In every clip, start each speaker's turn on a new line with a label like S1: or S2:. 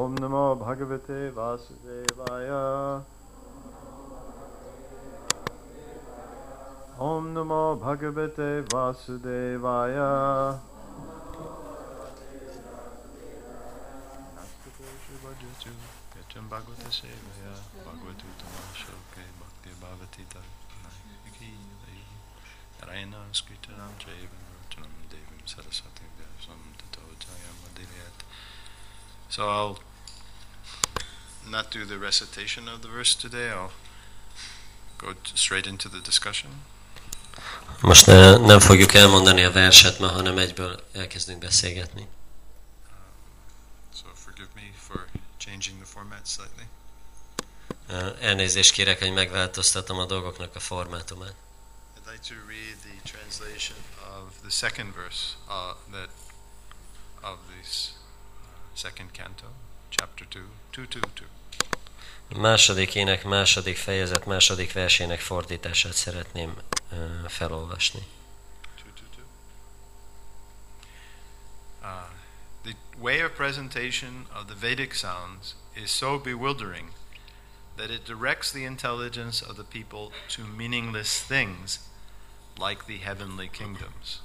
S1: ओम नमो भगवते वासुदेवाय ओम नमो भगवते वासुदेवाय
S2: Raina Skritanam Jaivam Ratanam Devim Saraswati Vyasam Tato Jayam Adhiryat. So I'll not do the recitation of the verse today. I'll go t- straight into the discussion.
S3: Most ne, nem fogjuk elmondani a verset ma, hanem egyből elkezdünk beszélgetni.
S2: So forgive me for changing the format slightly.
S3: Ö, Elnézést kérek, hogy megváltoztatom a dolgoknak a formátumát.
S2: I'd like to read the translation of the second verse uh, that of this uh, second canto, chapter 2, 222.
S3: A Második ének, második fejezet, második versének fordítását szeretném ö, felolvasni.
S2: 222. Uh, the way of presentation of the Vedic sounds is so bewildering that it directs the intelligence of the people to meaningless things like the heavenly kingdoms.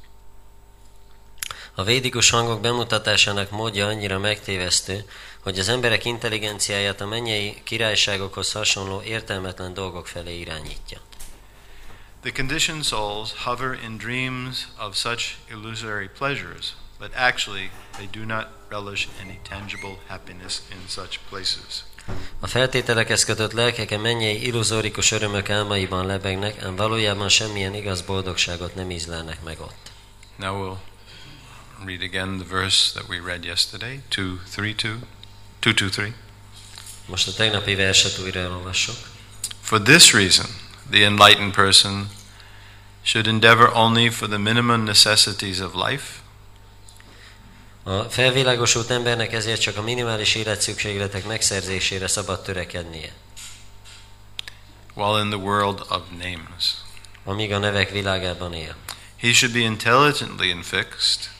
S3: A védikus hangok bemutatásának módja annyira megtévesztő, hogy az emberek intelligenciáját a mennyei királyságokhoz hasonló értelmetlen dolgok felé irányítja.
S2: The conditioned souls hover in dreams of such illusory pleasures, but actually they do not relish any tangible happiness in such places.
S3: A feltételekhez kötött lelkek a mennyei illuzórikus örömök álmaiban lebegnek, ám valójában semmilyen igaz boldogságot nem ízlelnek meg ott.
S2: Now we'll read again the verse that we read yesterday, 232, 223.
S3: Most a tegnapi verset újra elolvassuk.
S2: For this reason, the enlightened person should endeavor only for the minimum necessities of life,
S3: A felvilágosult embernek ezért csak a minimális életszükségletek megszerzésére szabad törekednie,
S2: while in the world of names.
S3: amíg a nevek világában él.
S2: He should be intelligently and fixed,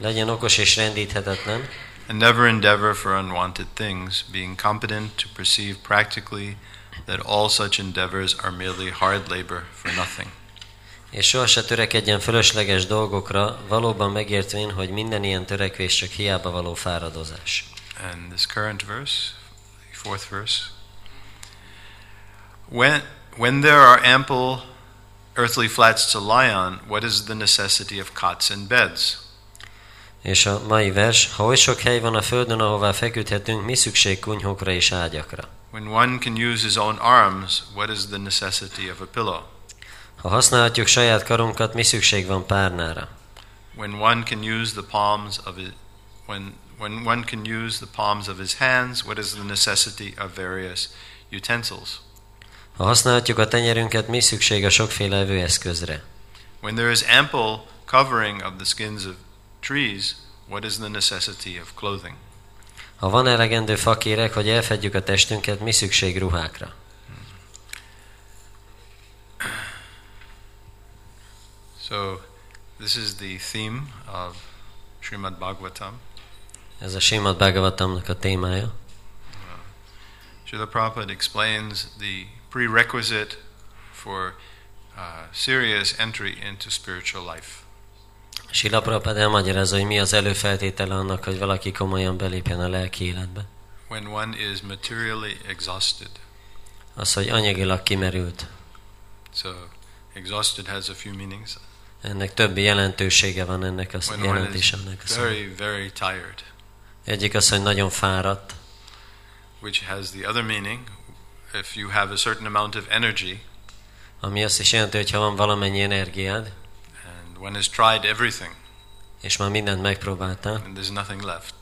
S3: Legyen okos és rendíthetetlen,
S2: and never endeavor for unwanted things, being competent to perceive practically that all such endeavors are merely hard labor for nothing.
S3: és sohasem törekedjen fölösleges dolgokra, valóban megértvén, hogy minden ilyen törekvés csak hiába való fáradozás.
S2: and this current verse, the fourth verse. When, when there are ample earthly flats to lie on, what is the necessity of cots and beds?
S3: És a mai vers, ha oly sok hely van a földön, ahová feküdhetünk, mi szükség kunyhókra és ágyakra?
S2: When one can use his own arms, what is the necessity of a pillow?
S3: Ha használhatjuk saját karunkat, mi szükség van párnára?
S2: When one can use the palms of his, when, when one can use the palms of his hands, what is the necessity of various utensils?
S3: Ha használhatjuk a tenyerünket, mi szükség a sokféle evőeszközre?
S2: When there is ample covering of the skins of trees, what is the necessity of clothing?
S3: Ha van elegendő fakérek, hogy elfedjük a testünket, mi szükség ruhákra?
S2: So, this is the theme of Srimad Bhagavatam.
S3: Ez a Simad Bhagavatamnak a témája.
S2: Srila Prabhupada explains the prerequisite for uh, serious entry into spiritual life.
S3: Sila Prabhupada elmagyarázza, hogy mi az előfeltétele annak, hogy valaki komolyan belépjen a lelki életbe.
S2: When one is materially exhausted,
S3: Az, hogy anyagilag kimerült.
S2: so exhausted has a few meanings.
S3: Ennek több jelentősége van ennek a
S2: When one is
S3: jelentése ennek a szónak.
S2: very, very tired,
S3: Egyik az, hogy nagyon fáradt,
S2: which has the other meaning, if you have a certain amount of energy
S3: ami azt is jelenti, hogy ha van valamennyi energiád,
S2: and one has tried everything
S3: és már mindent megpróbáltál,
S2: and there's nothing left,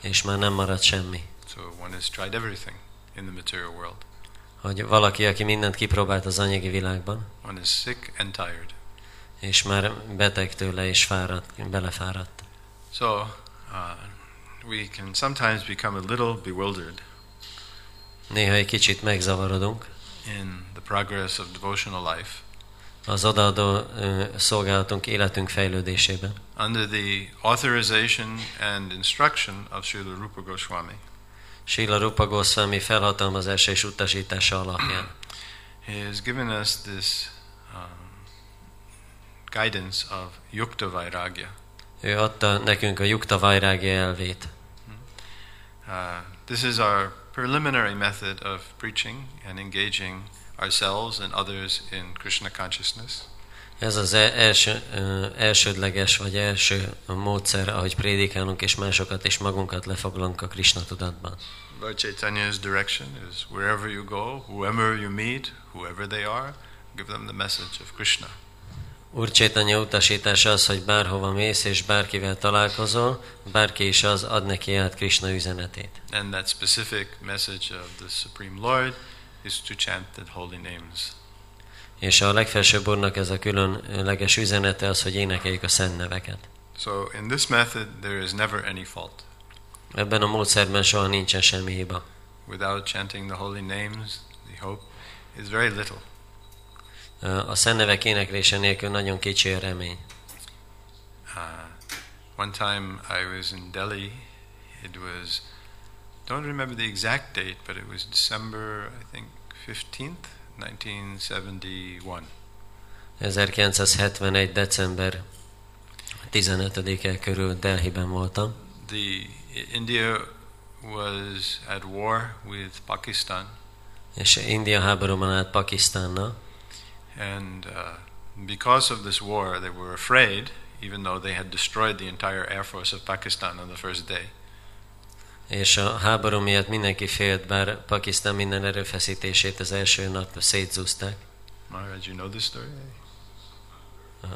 S3: és már nem marad semmi.
S2: so one has tried everything in the material world.
S3: Hogy valaki, aki mindent kipróbált az anyagi világban,
S2: One is sick and tired.
S3: és már beteg tőle, és fáradt, belefáradt.
S2: So, uh, we can sometimes become a little bewildered
S3: Néha egy kicsit megzavarodunk
S2: in the progress of devotional life
S3: az odaadó ö, szolgálatunk életünk fejlődésében.
S2: under the authorization and instruction of Srila Rupa Goswami.
S3: Sila Rupa Goswami felhatalmazása és utasítása alapján.
S2: He has given us this um, guidance of Yukta Vairagya.
S3: Ő adta nekünk a Jukta Vajrágya elvét.
S2: Uh, this is our preliminary method of preaching and engaging ourselves and others in Krishna consciousness.
S3: Ez az e- első, ö, elsődleges vagy első módszer, ahogy prédikálunk és másokat és magunkat lefoglalunk a Krishna tudatban.
S2: Lord Chaitanya's direction is wherever you go, whoever you meet, whoever they are, give them the message of Krishna.
S3: Úr Csétanya utasítása az, hogy bárhova mész és bárkivel találkozol, bárki is az ad neki át Krishna üzenetét.
S2: And that specific message of the Supreme Lord is to chant the holy names.
S3: És a legfelsőbb úrnak ez a különleges üzenete az, hogy énekeljük a szent neveket.
S2: So in this method, there is never any fault.
S3: Ebben a módszerben soha nincsen semmi hiba.
S2: Without chanting the holy names, the hope is very little.
S3: Ö, A szent nevek éneklése nélkül nagyon kicsi a remény.
S2: Uh, one time I was in Delhi. It was, don't remember the exact date, but it was December, I think, 15th, 1971.
S3: 1971. december 15-e körül Delhiben voltam.
S2: The I- India was at war with Pakistan,
S3: És India háborúban állt Pakisztánnal,
S2: and uh, because of this war, they were afraid, even though they had destroyed the entire air force of Pakistan on the first day.
S3: és a háború miatt mindenki félt, bár Pakisztán minden erőfeszítését az első nap szétzúzták,
S2: Maharaj, you know this story?
S3: Uh,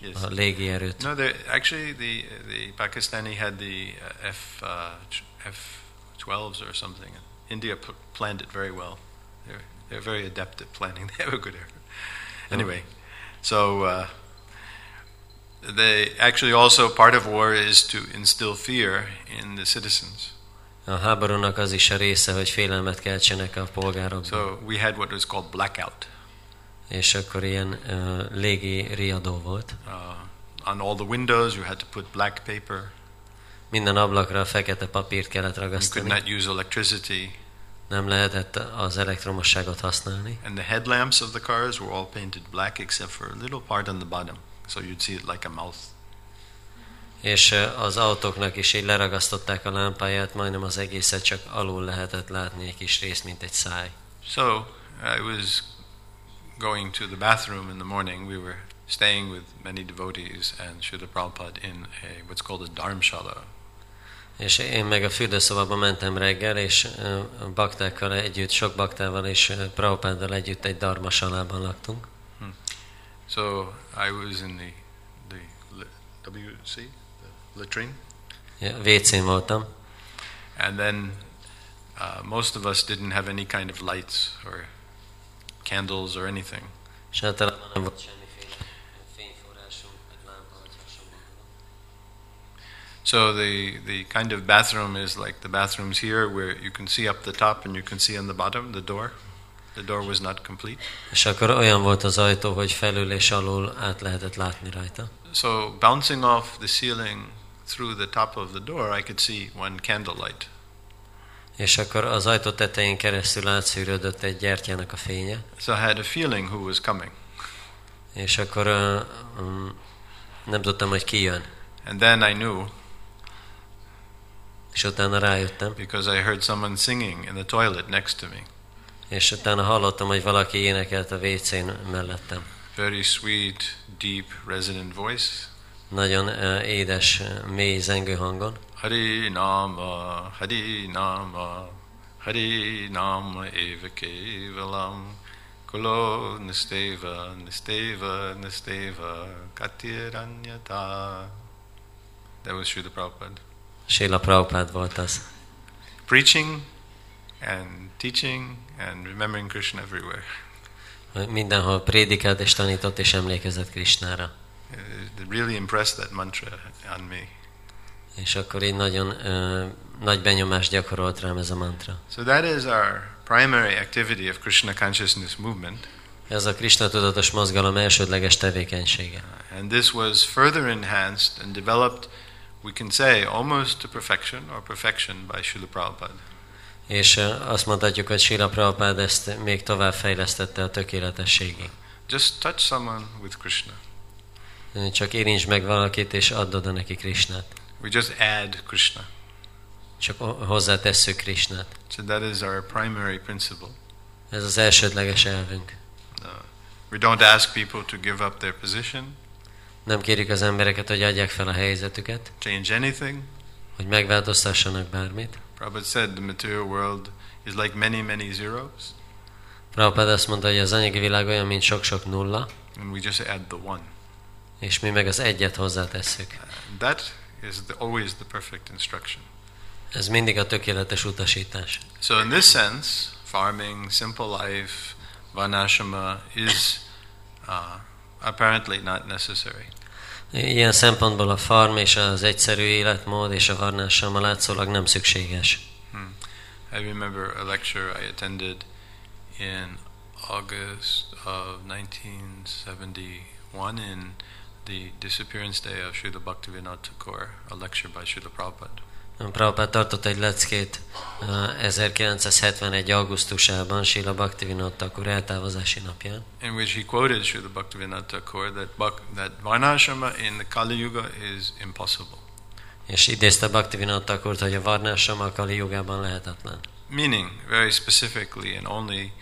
S2: Yes.
S3: a légierőt.
S2: No, there actually the the Pakistani had the uh, F uh, F twelves or something. India p- planned it very well. They're they're very adept at planning. They have a good effort. Anyway, so uh, they actually also part of war is to instill fear in the citizens.
S3: A háborúnak az is a része, hogy félelmet keltsenek a polgárokban.
S2: So we had what was called blackout
S3: És akkor ilyen ö, légi riadó volt.
S2: uh, on all the windows. You had to put black paper.
S3: Minden ablakra fekete papírt kellett
S2: You could
S3: ragasztani.
S2: not use electricity,
S3: Nem lehetett az elektromosságot használni.
S2: And the headlamps of the cars were all painted black except for a little part on the bottom. So you'd see it like a mouth.
S3: És ö, az autóknak is így leragasztották a lámpáját, majdnem az egészet csak alul lehetett látni egy kis részt, mint egy száj.
S2: So I was going to the bathroom in the morning. We were staying with many devotees and Srila Prabhupada in a, what's called a dharmshala.
S3: És én meg a fürdőszobába mentem reggel, és ö, a baktákkal együtt, sok baktával és ö, Prabhupáddal együtt egy darmasalában laktunk.
S2: So I was in the, the la- WC, the latrine.
S3: WC voltam,
S2: And then uh, most of us didn't have any kind of lights or candles or anything.
S3: és általában nem volt semmiféle fényforrásunk, vagy lámpa, vagy hasonló.
S2: So the the kind of bathroom is like the bathrooms here, where you can see up the top and you can see on the bottom the door. The door was not complete.
S3: És akkor olyan volt az ajtó, hogy felül és alul át lehetett látni rajta.
S2: So bouncing off the ceiling through the top of the door, I could see one candlelight.
S3: És akkor az ajtó tetején keresztül átszűrődött egy gyertyának a fénye.
S2: So I had a feeling who was coming.
S3: És akkor ö, mm, nem tudtam, hogy ki jön.
S2: And then I knew
S3: És utána rájöttem,
S2: because I heard someone singing in the toilet next to me.
S3: és utána hallottam, hogy valaki énekelt a WC-n mellettem.
S2: Very sweet, deep, resonant voice.
S3: Nagyon ö, édes, ö, mély zengő hangon.
S2: Hari Nama, Hari Nama, Hari Nama Eva Kevalam, Kulo Nisteva, Nisteva, Nisteva, Katiranyata. That was Srila Prabhupada.
S3: Sila Prabhupád volt az.
S2: Preaching and teaching and remembering Krishna everywhere.
S3: Mindenhol prédikált és tanított és emlékezett Krisnára.
S2: It really impressed that mantra on me.
S3: És akkor így nagyon ö, nagy benyomást gyakorolt rám ez a mantra.
S2: So that is our primary activity of Krishna consciousness movement.
S3: Ez a Krishna tudatos mozgalom elsődleges tevékenysége.
S2: And this was further enhanced and developed we can say almost to perfection or perfection by Srila Prabhupada.
S3: És ö, azt mondhatjuk, hogy Sila Prabhupád ezt még tovább fejlesztette a tökéletességig.
S2: Just touch someone with Krishna.
S3: Ö, Csak érintsd meg valakit, és add oda neki Krisnát.
S2: We just add Krishna.
S3: Csak o- hozzátesszük Krisnát.
S2: So that is our primary principle.
S3: Ez az elsődleges elvünk.
S2: Uh, we don't ask people to give up their position,
S3: Nem kérjük az embereket, hogy adják fel a helyzetüket,
S2: change anything.
S3: hogy megváltoztassanak bármit.
S2: Prabhupada said the material world is like many, many zeros,
S3: Prabhupád azt mondta, hogy az anyagi világ olyan, mint sok-sok nulla,
S2: and we just add the one.
S3: és mi meg az egyet hozzátesszük.
S2: And that is the, always the perfect instruction.
S3: Ez mindig a tökéletes utasítás.
S2: So, in this sense, farming, simple life, vanashama is uh, apparently not necessary.
S3: Ilyen szempontból a farm és az egyszerű életmód és a varnással látszólag nem szükséges.
S2: I remember a lecture I attended in August of 1971 in the disappearance day of Srila Bhaktivinoda Tagore, a lecture by Srila Prabhupada.
S3: Prabhupád tartott egy leckét eh, 1971. augusztusában, Sila Bhaktivinoda Thakur eltávozási napján,
S2: in which he quoted Srila Bhaktivinoda Thakur that, Bhak, that varnashrama in the Kali Yuga is impossible.
S3: és idézte Bhaktivinoda Thakurt, hogy a varnással a Kali jogában lehetetlen.
S2: Meaning, very specifically and only,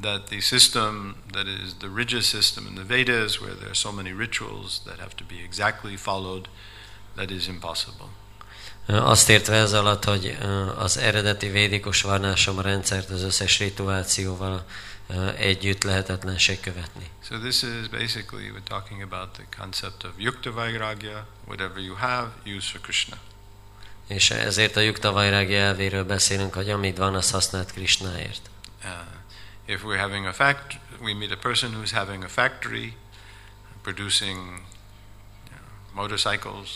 S2: that the system that is the rigid system in the Vedas, where there are so many rituals that have to be exactly followed, that is impossible.
S3: Eh, Azt értve ez alatt, hogy eh, az eredeti védikus varnásom rendszert az összes rituációval eh, együtt lehetetlenség követni.
S2: So, this is basically we're talking about the concept of yukta vairagya whatever you have, use for Krishna.
S3: És ezért a Jukta Vajrági elvéről beszélünk, hogy amit van, azt használt Krishnáért.
S2: Uh, if we're having a fact, we meet a person who's having a factory producing you know, motorcycles.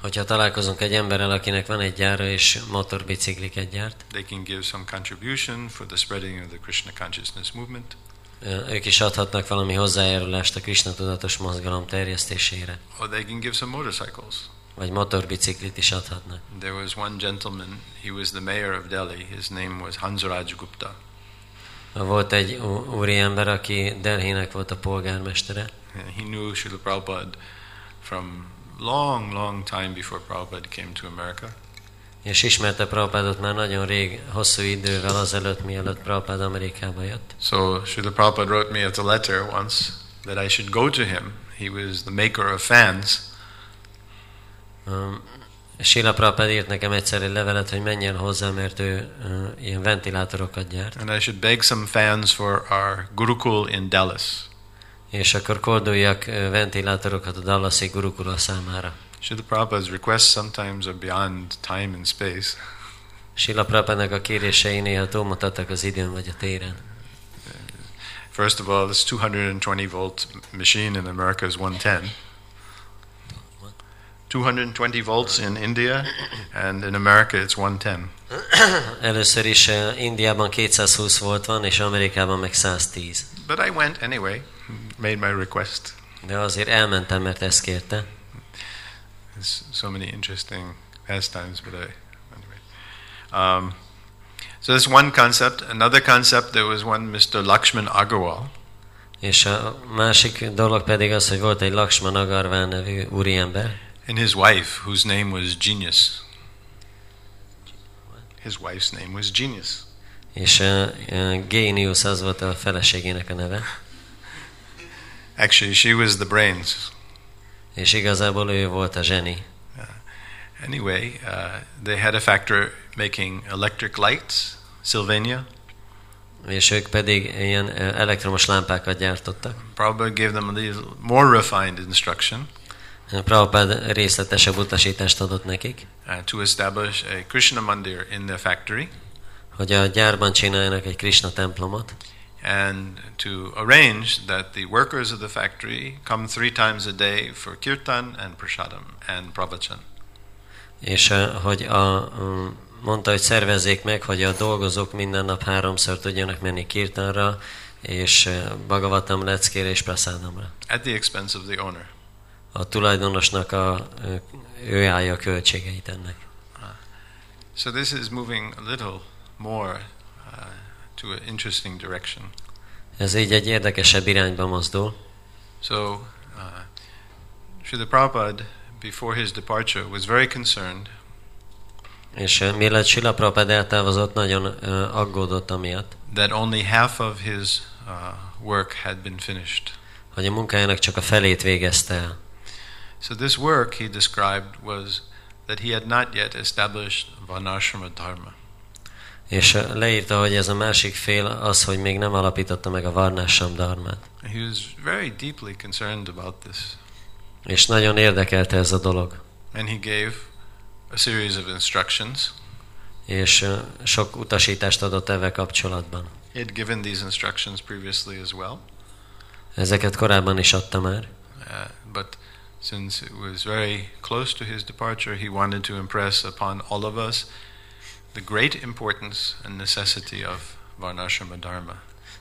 S3: Hogyha találkozunk egy emberrel, akinek van egy gyára és motorbicikliket gyárt,
S2: They can give some contribution for the spreading of the Krishna consciousness movement.
S3: ö, ők is adhatnak valami hozzájárulást a Krishna tudatos mozgalom terjesztésére,
S2: Or they can give some motorcycles.
S3: vagy motorbiciklit is adhatnak.
S2: There was one gentleman, he was the mayor of Delhi. His name was Hansraj Gupta.
S3: Volt egy ú- úriember, aki Delhinek volt a polgármestere,
S2: And he knew Srila Prabhupada from long, long time before Prabhupada came to America.
S3: és ismerte Prabhupádot már nagyon rég, hosszú idővel azelőtt, mielőtt Prabhupád Amerikába jött.
S2: So Srila Prabhupada wrote me a letter once that I should go to him. He was the maker of fans.
S3: Um, Sila Prabhupád írt nekem egyszer egy levelet, hogy menjen hozzá, mert ő ö, ilyen ventilátorokat gyárt,
S2: And I should beg some fans for our Gurukul in Dallas.
S3: és akkor kolduljak ö, ventilátorokat a Dallasi gurukula számára.
S2: Srila Prabhupada's requests sometimes are beyond time and space.
S3: Sila Prabhupádnak a kérései néha túlmutattak az időn vagy a téren.
S2: First of all, this 220 volt machine in America is 110. 220 volts in India, and in America it's 110.
S3: Először is ö, Indiában 220 volt van, és Amerikában meg 110.
S2: But I went anyway, made my request.
S3: De azért elmentem, mert ezt kérte.
S2: There's so many interesting pastimes, but I, anyway. Um, so that's one concept. Another concept, there was one Mr. Lakshman Agarwal.
S3: És a másik dolog pedig az, hogy volt egy Lakshman Agarván nevű úriember,
S2: And his wife, whose name was Genius. His wife's name was Genius.
S3: és ö, ö, Génius az volt a feleségének a neve.
S2: Actually, she was the brains.
S3: És igazából ő volt a zseni.
S2: Anyway, uh, they had a factory making electric lights, Sylvania.
S3: És ők pedig ilyen ö, elektromos lámpákat gyártottak.
S2: Prabhupada gave them a little more refined instruction
S3: Prabhupád részletesebb utasítást adott nekik,
S2: uh, to establish a Krishna mandir in their factory
S3: hogy a gyárban csináljanak egy Krishna templomot,
S2: and to arrange that the workers of the factory come three times a day for kirtan and prasadam and pravachan.
S3: és ö, hogy a, ö, mondta, hogy szervezzék meg, hogy a dolgozók minden nap háromszor tudjanak menni kirtanra, és ö, Bhagavatam leckére és prasádamra.
S2: at the expense of the owner.
S3: a tulajdonosnak a, ö, ő állja a költségeit ennek.
S2: So this is moving a little more uh, to an interesting direction.
S3: Ez így egy érdekesebb irányba mozdul.
S2: So uh, Srila Prabhupada, before his departure, was very concerned
S3: És ö, mielőtt Sila Prabhupád eltávozott, nagyon ö, aggódott amiatt,
S2: that only half of his uh, work had been finished.
S3: hogy a munkájának csak a felét végezte el.
S2: So this work he described was that he had not yet established Vanashrama Dharma.
S3: És ö, leírta, hogy ez a másik fél az, hogy még nem alapította meg a Varnásam Dharmát.
S2: He was very deeply concerned about this,
S3: És nagyon érdekelte ez a dolog.
S2: and he gave a series of instructions.
S3: És ö, sok utasítást adott ebben kapcsolatban.
S2: He had given these instructions previously as well,
S3: Ezeket korábban is adta már.
S2: uh, but since it was very close to his departure, he wanted to impress upon all of us the great importance and necessity of Varnashrama Dharma.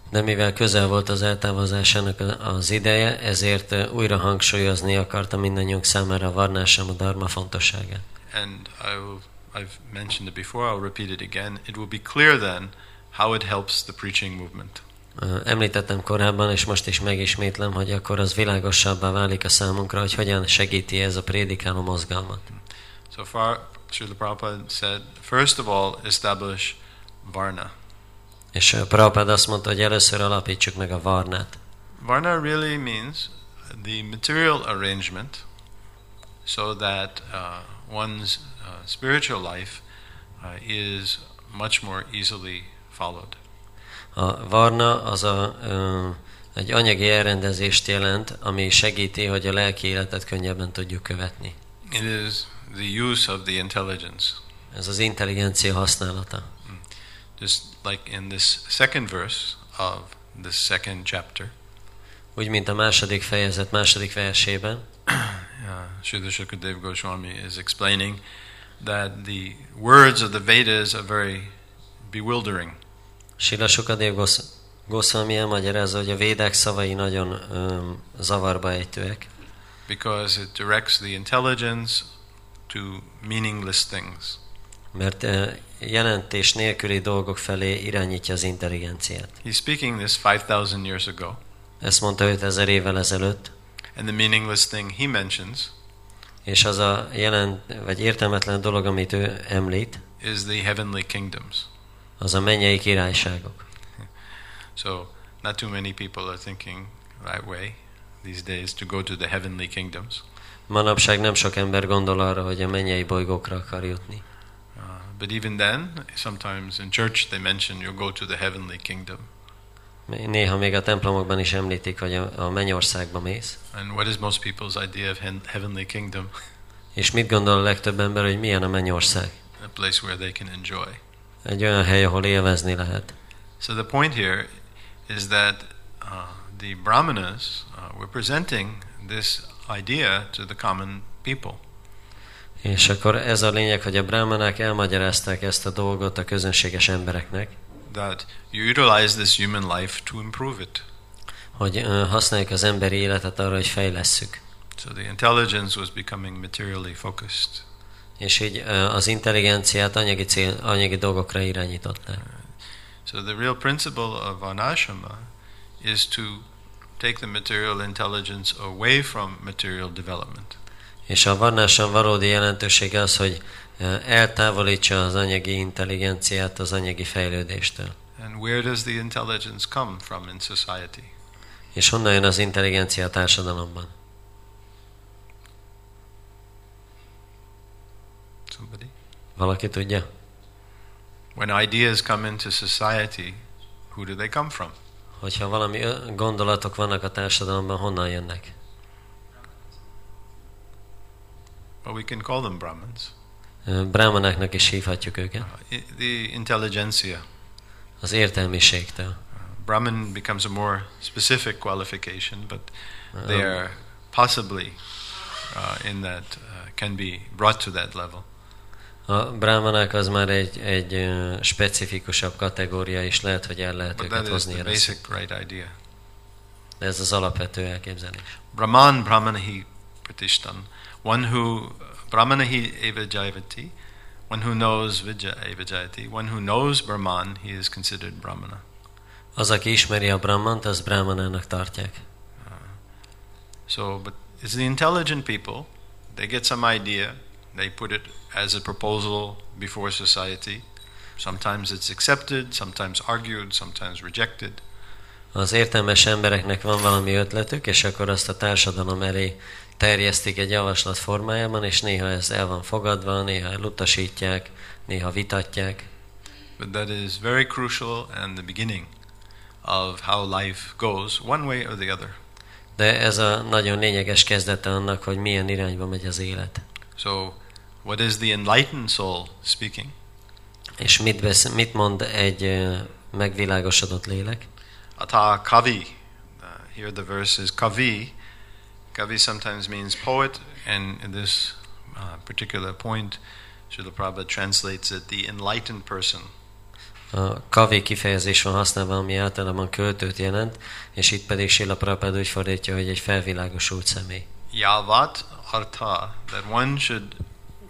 S3: De mivel közel volt az eltávozásának a- az ideje, ezért ö, újra hangsúlyozni akarta mindannyiunk számára a varnásam a dharma fontosságát.
S2: And I will, I've mentioned it before, I'll repeat it again. It will be clear then how it helps the preaching movement.
S3: Ö, Említettem korábban, és most is megismétlem, hogy akkor az világosabbá válik a számunkra, hogy hogyan segíti ez a prédikáló mozgalmat.
S2: So far, Srila Prabhupada said, first of all, establish Varna.
S3: És ö, Prabhupád azt mondta, hogy először alapítsuk meg a varnát.
S2: Varna really means the material arrangement so that uh, one's uh, spiritual life uh, is much more easily followed.
S3: A varna az a, ö, egy anyagi elrendezést jelent, ami segíti, hogy a lelki életet könnyebben tudjuk követni.
S2: It is the use of the intelligence.
S3: Ez az intelligencia használata.
S2: Just like in this second verse of this second chapter,
S3: Úgy, mint a második fejezet második versében,
S2: uh, Srila Shukadev Goswami is explaining that the words of the Vedas are very bewildering.
S3: Sila Sukadev Gosz- Goszwami elmagyarázza, hogy a védák szavai nagyon öm, zavarba ejtőek,
S2: because it directs the intelligence to meaningless things.
S3: mert ö, jelentés nélküli dolgok felé irányítja az intelligenciát.
S2: He's speaking this 5,000 years ago,
S3: Ezt mondta 5000 évvel ezelőtt,
S2: and the meaningless thing he mentions
S3: és az a jelent, vagy értelmetlen dolog, amit ő említ,
S2: is the heavenly kingdoms.
S3: az a mennyei királyságok.
S2: So, not too many people are thinking that way these days to go to the heavenly kingdoms.
S3: Manapság nem sok ember gondol arra, hogy a mennyei bolygókra akar jutni.
S2: Uh, but even then, sometimes in church they mention you'll go to the heavenly kingdom.
S3: Néha még a templomokban is említik, hogy a, a mennyországba mész.
S2: And what is most people's idea of hen- heavenly kingdom?
S3: És mit gondol a legtöbb ember, hogy milyen a mennyország?
S2: A place where they can enjoy.
S3: Egy olyan hely, ahol élvezni lehet.
S2: So the point here is that uh, the brahmanas uh, were presenting this idea to the common people.
S3: És akkor ez a lényeg, hogy a brámanák elmagyarázták ezt a dolgot a közönséges embereknek,
S2: That you utilize this human life to improve it.
S3: hogy ö, használjuk az emberi életet arra, hogy fejlesszük.
S2: So the intelligence was becoming materially focused.
S3: És így ö, az intelligenciát anyagi, cél, anyagi dolgokra irányították.
S2: So the real principle of anashama is to take the material intelligence away from material development.
S3: És a varnásan valódi jelentősége az, hogy ö, eltávolítsa az anyagi intelligenciát az anyagi fejlődéstől.
S2: And where does the intelligence come from in society?
S3: És honnan jön az intelligencia a társadalomban?
S2: Somebody?
S3: Valaki tudja?
S2: When ideas come into society, who do they come from?
S3: Hogyha valami ö- gondolatok vannak a társadalomban, honnan jönnek?
S2: Well, we can call them Brahmins. Uh,
S3: Ö, Brámanáknak is hívhatjuk őket.
S2: I- The intelligentsia.
S3: Az értelmiségtől.
S2: Brahmin becomes a more specific qualification, but
S3: Ö,
S2: they are possibly uh, in that, uh, can be brought to that level.
S3: A brámanák az már egy, egy ö, specifikusabb kategória, és lehet, hogy el lehet
S2: But
S3: őket
S2: that is
S3: hozni
S2: the
S3: erre.
S2: basic right idea.
S3: De ez az alapvető elképzelés.
S2: Brahman, Brahman, he Pratishtan. One who Brahmanahi eva jayavati, one who knows Vija eva jayati, one who knows Brahman, he is considered Brahmana.
S3: Az, aki ismeri a Brahmant, az Brahmanának tartják.
S2: So, but it's the intelligent people. They get some idea, they put it as a proposal before society. Sometimes it's accepted, sometimes argued, sometimes rejected.
S3: Az értelmes embereknek van valami ötletük, és akkor azt a társadalom elé terjesztik egy javaslat formájában, és néha ez el van fogadva, néha elutasítják, néha vitatják.
S2: But that is very crucial and the beginning of how life goes, one way or the other.
S3: De ez a nagyon lényeges kezdete annak, hogy milyen irányba megy az élet.
S2: So, what is the enlightened soul speaking?
S3: És mit, besz- mit mond egy ö, megvilágosodott lélek?
S2: Ata kavi. Uh, here the verse is kavi. Kavi sometimes means poet, and in this uh, particular point, Srila Prabhupada translates it the enlightened person.
S3: A kavé kifejezés van használva, ami általában költőt jelent, és itt pedig Silla Prabhupád úgy fordítja, hogy egy felvilágosult személy.
S2: Yavat artha. That one should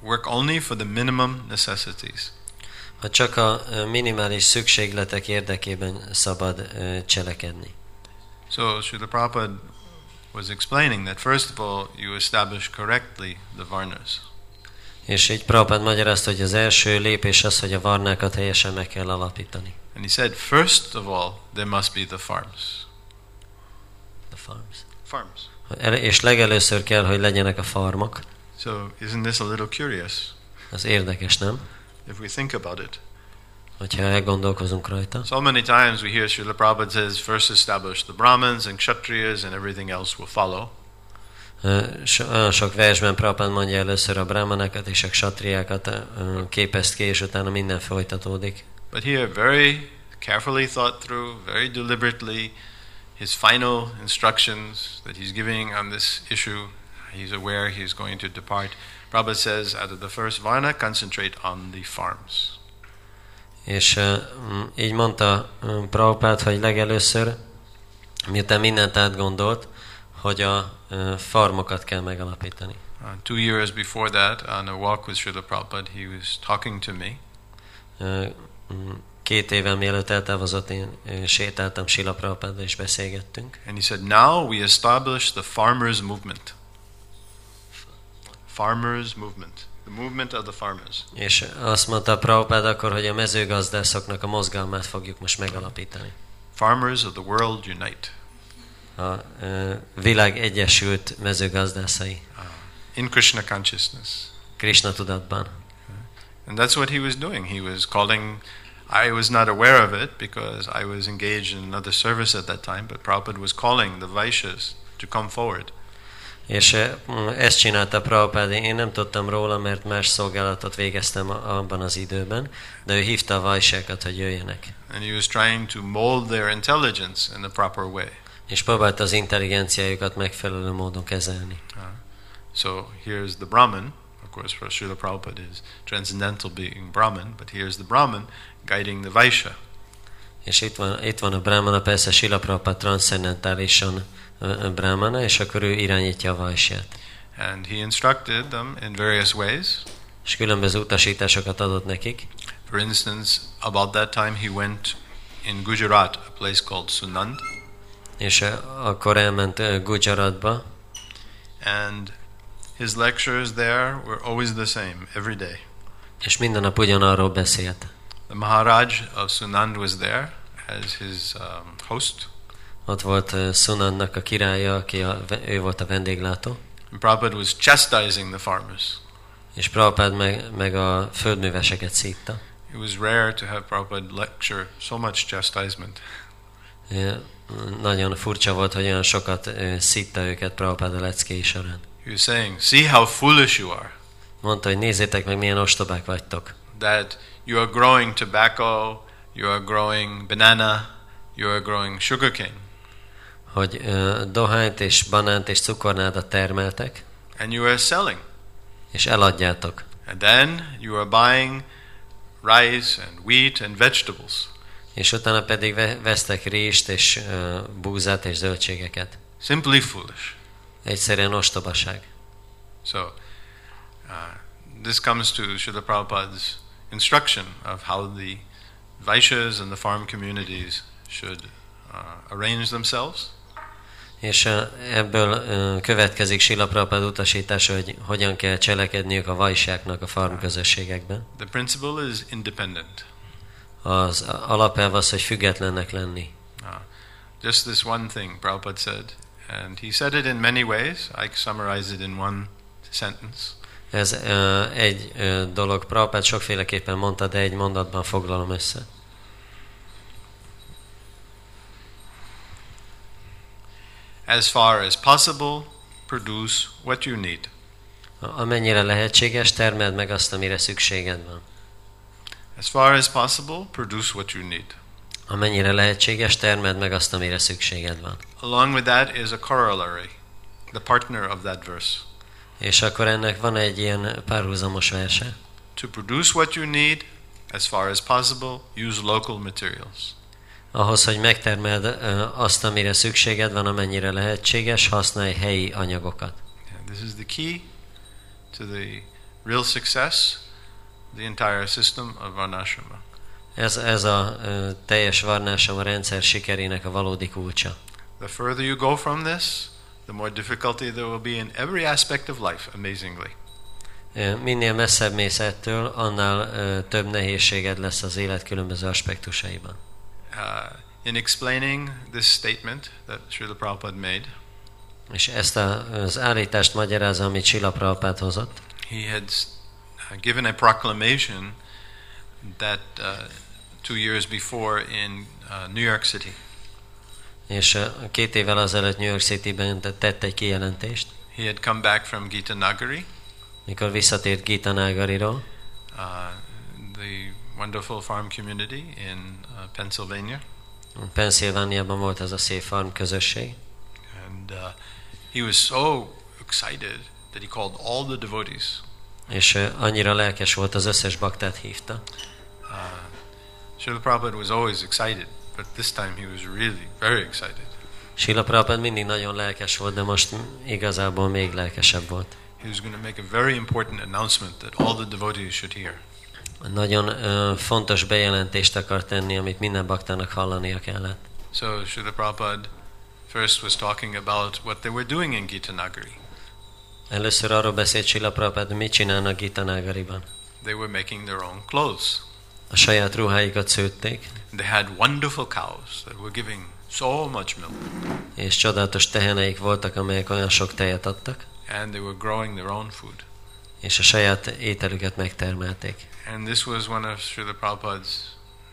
S2: work only for the minimum necessities.
S3: Ha csak a ö, minimális szükségletek érdekében szabad ö, cselekedni.
S2: So Srila Prabhupada was explaining that first of all, you establish correctly the varnas.
S3: És így Prabhupád magyarázta, hogy az első lépés az, hogy a varnákat helyesen meg kell alapítani.
S2: And he said, first of all, there must be the farms.
S3: The farms.
S2: Farms.
S3: El- És legelőször kell, hogy legyenek a farmak.
S2: So isn't this a little curious
S3: Az érdekes, nem?
S2: if we think about it?
S3: Hogyha elgondolkozunk rajta.
S2: So many times we hear Srila Prabhupada says, first establish the Brahmins and Kshatriyas and everything else will follow.
S3: Ö, so- Olyan sok versben Prabhupád mondja először a brámanákat és a satriákat képezt ki, és utána minden folytatódik.
S2: But here, very carefully thought through, very deliberately, his final instructions that he's giving on this issue, he's aware he's going to depart. Prabhupada says, out of the first varna, concentrate on the farms.
S3: És ö, m, így mondta ö, Prabhupád, hogy legelőször, miután mindent átgondolt, hogy a ö, farmokat kell megalapítani.
S2: Uh, two years before that, on a walk with Srila Prabhupada, he was talking to me.
S3: Ö, m, Két évvel mielőtt eltávozott, én ö, sétáltam Sila Prabhupádba és beszélgettünk.
S2: And he said, Now we establish the farmers' movement. Farmers' movement. The movement of the farmers.
S3: És azt mondta Prabhupád akkor, hogy a mezőgazdászoknak a mozgalmát fogjuk most megalapítani.
S2: Farmers of the world unite.
S3: A ö, világ egyesült mezőgazdászai
S2: In Krishna consciousness.
S3: Krishna tudatban.
S2: And that's what he was doing. He was calling. I was not aware of it because I was engaged in another service at that time, but Prabhupada was calling the Vaishyas to come forward.
S3: És ö, m, ezt csinálta Prabhupád, én nem tudtam róla, mert más szolgálatot végeztem a- abban az időben, de ő hívta a vajsákat, hogy jöjjenek.
S2: And he was trying to mold their intelligence in the proper way.
S3: És próbálta az intelligenciájukat megfelelő módon kezelni.
S2: So here's the Brahman. Of course, for Srila Prabhupada is transcendental being Brahman, but here's the Brahman guiding the Vaishya.
S3: És itt van, itt van a brámana, persze Sila Prabhupád transzendentálisan ö, ö, brámana, és akkor ő irányítja a vajsát.
S2: And he instructed them in various ways.
S3: és különböző utasításokat adott nekik.
S2: For instance, about that time he went in Gujarat, a place called Sunand,
S3: És ö, akkor elment ö, Gujaratba,
S2: and his lectures there were always the same every day.
S3: és minden nap ugyanarról beszélt.
S2: The Maharaj of Sunand was there as his um, host.
S3: Ott volt ö, Sunannak a királya, aki a, ve- ő volt a vendéglátó,
S2: And Prabhupada was chastising the farmers.
S3: és Prabhupád meg, meg a földműveseket szítta.
S2: It was rare to have Prabhupada lecture so much chastisement.
S3: Ö, Nagyon furcsa volt, hogy olyan sokat ö, szitta őket Prabhupád a leckéi során.
S2: He was saying, See how foolish you are,
S3: Mondta, hogy nézzétek meg, milyen ostobák vagytok.
S2: that you are growing tobacco, you are growing banana, you are growing sugarcane,
S3: Hogy ö, dohányt és banánt és cukornádat termeltek,
S2: and you are selling.
S3: és eladjátok.
S2: And then you are buying rice and wheat and vegetables.
S3: És utána pedig ve- vesztek rést és ö, búzát és zöldségeket.
S2: Simply foolish.
S3: Egyszerűen ostobaság.
S2: So, uh, this comes to Srila Prabhupada's instruction of how the Vaishyas and the farm communities should uh, arrange themselves
S3: És ö, ebből ö, következik Sila Prabhupád utasítása, hogy hogyan kell cselekedniük a vajsáknak a farm közösségekben.
S2: The principle is independent.
S3: Az alapelv az, hogy függetlennek lenni.
S2: Just this one thing, Prabhupada said, and he said it in many ways. I summarize it in one sentence.
S3: Ez ö, egy ö, dolog, Prabhupád sokféleképpen mondta, de egy mondatban foglalom össze.
S2: As far as possible, produce what you need.
S3: A- Amennyire lehetséges, termeld meg azt, amire szükséged van.
S2: As far as possible, produce what you need.
S3: Amennyire lehetséges, termeld meg azt, amire szükséged van.
S2: Along with that is a corollary, the partner of that verse.
S3: És akkor ennek van egy ilyen párhuzamos verse.
S2: To produce what you need, as far as possible, use local materials.
S3: Ahhoz, hogy megtermeld ö, azt, amire szükséged van, amennyire lehetséges, használj helyi anyagokat.
S2: Yeah, this is the key to the real success, the entire system of Varnashrama.
S3: Ez, ez a ö, teljes varnásom a rendszer sikerének a valódi kulcsa.
S2: The further you go from this, the more difficulty there will be in every aspect of life, amazingly.
S3: Ö, Minél messzebb mész ettől, annál ö, több nehézséged lesz az élet különböző aspektusaiban.
S2: Uh, in explaining this statement that Srila Prabhupada made,
S3: És ezt a, az állítást magyarázza, amit Sila Prabhupád hozott.
S2: he had s- uh, given a proclamation that uh, two years before in uh, New York City.
S3: És ö, két évvel azelőtt New York City-ben t- tett egy kijelentést,
S2: He had come back from Gita Nagari.
S3: mikor visszatért Gita Nágariról,
S2: uh, the wonderful farm community in uh, Pennsylvania,
S3: Pennsylvániában volt ez a szép farm közösség,
S2: and uh, he was so excited that he called all the devotees.
S3: és ö, annyira lelkes volt, az összes baktát hívta.
S2: Uh, Srila Prabhupada was always excited, but this time he was really very excited.
S3: Sila Prabhupád mindig nagyon lelkes volt, de most igazából még lelkesebb volt.
S2: He was going to make a very important announcement that all the devotees should hear.
S3: Nagyon ö, fontos bejelentést akar tenni, amit minden baktának hallania kellett.
S2: So Srila Prabhupada first was talking about what they were doing in Gita Nagari.
S3: Először arról beszélt Sila Prabhupád, hogy mit csinálnak Gita Nágariban.
S2: They were making their own clothes.
S3: A saját ruháikat szőtték,
S2: They had wonderful cows that were giving so much milk.
S3: és csodálatos teheneik voltak, amelyek olyan sok tejet adtak,
S2: and they were growing their own food.
S3: és a saját ételüket megtermelték.
S2: And this was one of Srila Prabhupada's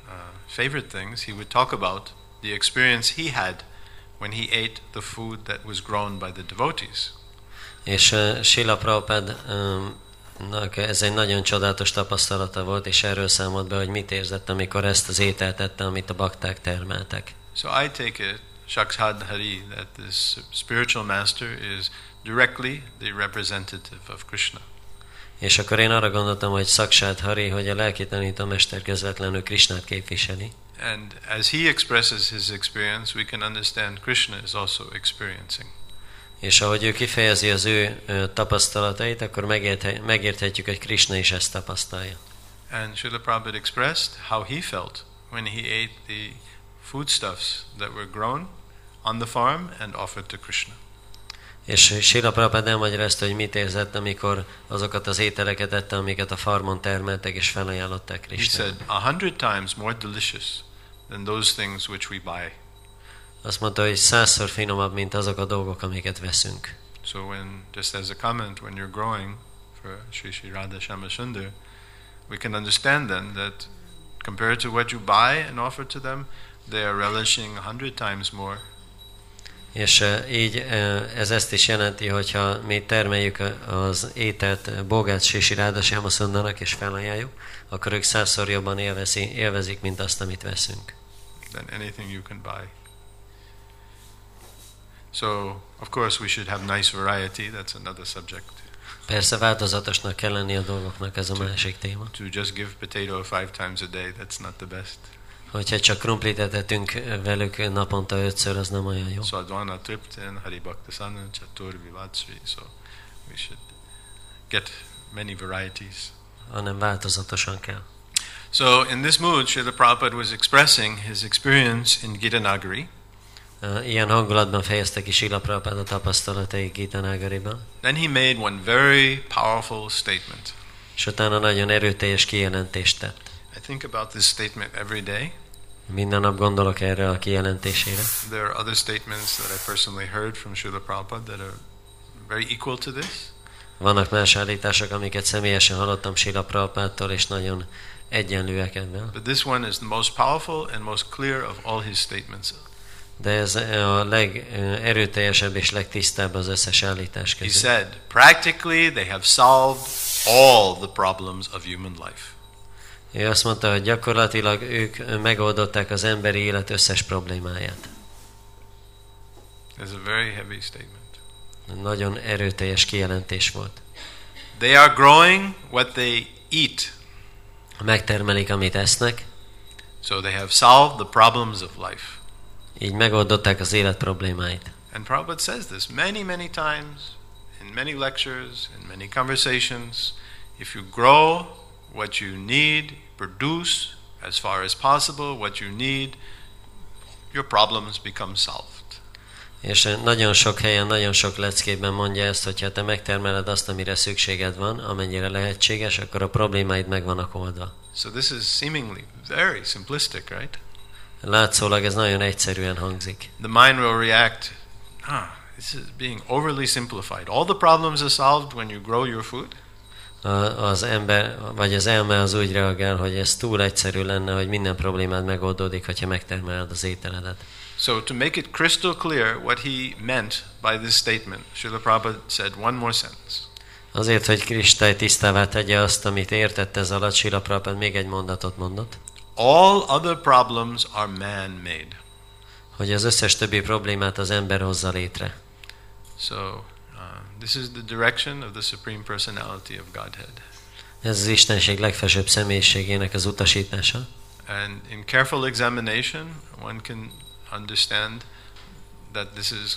S2: uh, favorite things. He would talk about the experience he had when he ate the food that was grown by the devotees.
S3: És uh, Sila Prabhupádnak ez egy nagyon csodálatos tapasztalata volt, és erről számolt be, hogy mit érzett, amikor ezt az ételt tette, amit a bakták termeltek.
S2: So I take it, Shakshad Hari, that this spiritual master is directly the representative of Krishna.
S3: És akkor én arra gondoltam, hogy Szaksát Hari, hogy a lelki tanítómester közvetlenül Krisnát képviseli.
S2: And as he expresses his experience, we can understand Krishna is also experiencing.
S3: És ahogy ő kifejezi az ő ö, tapasztalatait, akkor megérthe- megérthetjük, hogy Krishna is ezt tapasztalja.
S2: And Srila Prabhupada expressed how he felt when he ate the foodstuffs that were grown on the farm and offered to Krishna.
S3: És Sila Prabhupád elmagyarázta, hogy mit érzett, amikor azokat az ételeket ette, amiket a farmon termeltek, és felajánlották
S2: He
S3: Krisnának.
S2: said, A hundred times more delicious than those things which we buy.
S3: Azt mondta, hogy százszor finomabb, mint azok a dolgok, amiket veszünk.
S2: So, when, just as a comment, when you're growing for Sri Sri Radha Shamasundar, we can understand then that compared to what you buy and offer to them, they are relishing a hundred times more
S3: És eh, így eh, ez ezt is jelenti, hogyha mi termeljük az ételt Bogát Sisi Rádasámaszondanak és felajánljuk, akkor ők százszor jobban élvezi, élvezik, mint azt, amit veszünk.
S2: than anything you can buy. So, of course, we should have nice variety. That's another subject.
S3: Persze változatosnak kell lenni a dolgoknak, ez a másik téma.
S2: To just give potato five times a day, that's not the best.
S3: Hogyha csak krumplit etetünk velük naponta ötször, az nem olyan jó.
S2: Sadvana Triptin, Hari Bhaktasana, Chatur Vivatsvi. So, we should get many varieties.
S3: hanem változatosan kell.
S2: So, in this mood, Srila Prabhupada was expressing his experience in Gitanagari.
S3: Ö, Ilyen hangulatban fejezte ki Sila Prabhupád a tapasztalatai Gita Nágariban,
S2: Then he made one very powerful statement.
S3: és utána nagyon erőteljes kijelentést tett.
S2: I think about this statement every day.
S3: Minden nap gondolok erre a kijelentésére.
S2: There are other statements that I personally heard from Srila Prabhupada that are very equal to this.
S3: Vannak más állítások, amiket személyesen hallottam Sila Prabhupádtól, és nagyon egyenlőek ebben.
S2: But this one is the most powerful and most clear of all his statements.
S3: De ez a legerőteljesebb és legtisztább az összes állítás
S2: He
S3: között.
S2: said, practically, they have solved all the problems of human life.
S3: Ő azt mondta, hogy gyakorlatilag ők megoldották az emberi élet összes problémáját.
S2: It's a very heavy statement.
S3: Nagyon erőteljes kijelentés volt.
S2: They are growing what they eat,
S3: Megtermelik, amit esznek,
S2: so they have solved the problems of life.
S3: így megoldották az élet problémáit.
S2: And Prabhupada says this many, many times in many lectures, in many conversations. If you grow what you need, produce as far as possible what you need, your problems become solved.
S3: És nagyon sok helyen, nagyon sok leckében mondja ezt, hogy ha te megtermeled azt, amire szükséged van, amennyire lehetséges, akkor a problémáid meg vannak oldva.
S2: So this is seemingly very simplistic, right?
S3: Látszólag ez nagyon egyszerűen hangzik.
S2: The mind will react, ah, this is being overly simplified. All the problems are solved when you grow your food.
S3: A, az ember, vagy az elme az úgy reagál, hogy ez túl egyszerű lenne, hogy minden problémád megoldódik, hogyha megtermeled az ételedet.
S2: So, to make it crystal clear what he meant by this statement, Srila Prabhupada said one more sentence.
S3: Azért, hogy Kristály tisztává tegye azt, amit értett ez alatt, Sila Prabhupád még egy mondatot mondott,
S2: All other problems are man made.
S3: hogy az összes többi problémát az ember hozza létre.
S2: So, uh, this is the direction of the Supreme Personality of Godhead.
S3: Ez az Istenség legfelsőbb személyiségének az utasítása.
S2: And in careful examination, one can understand that this is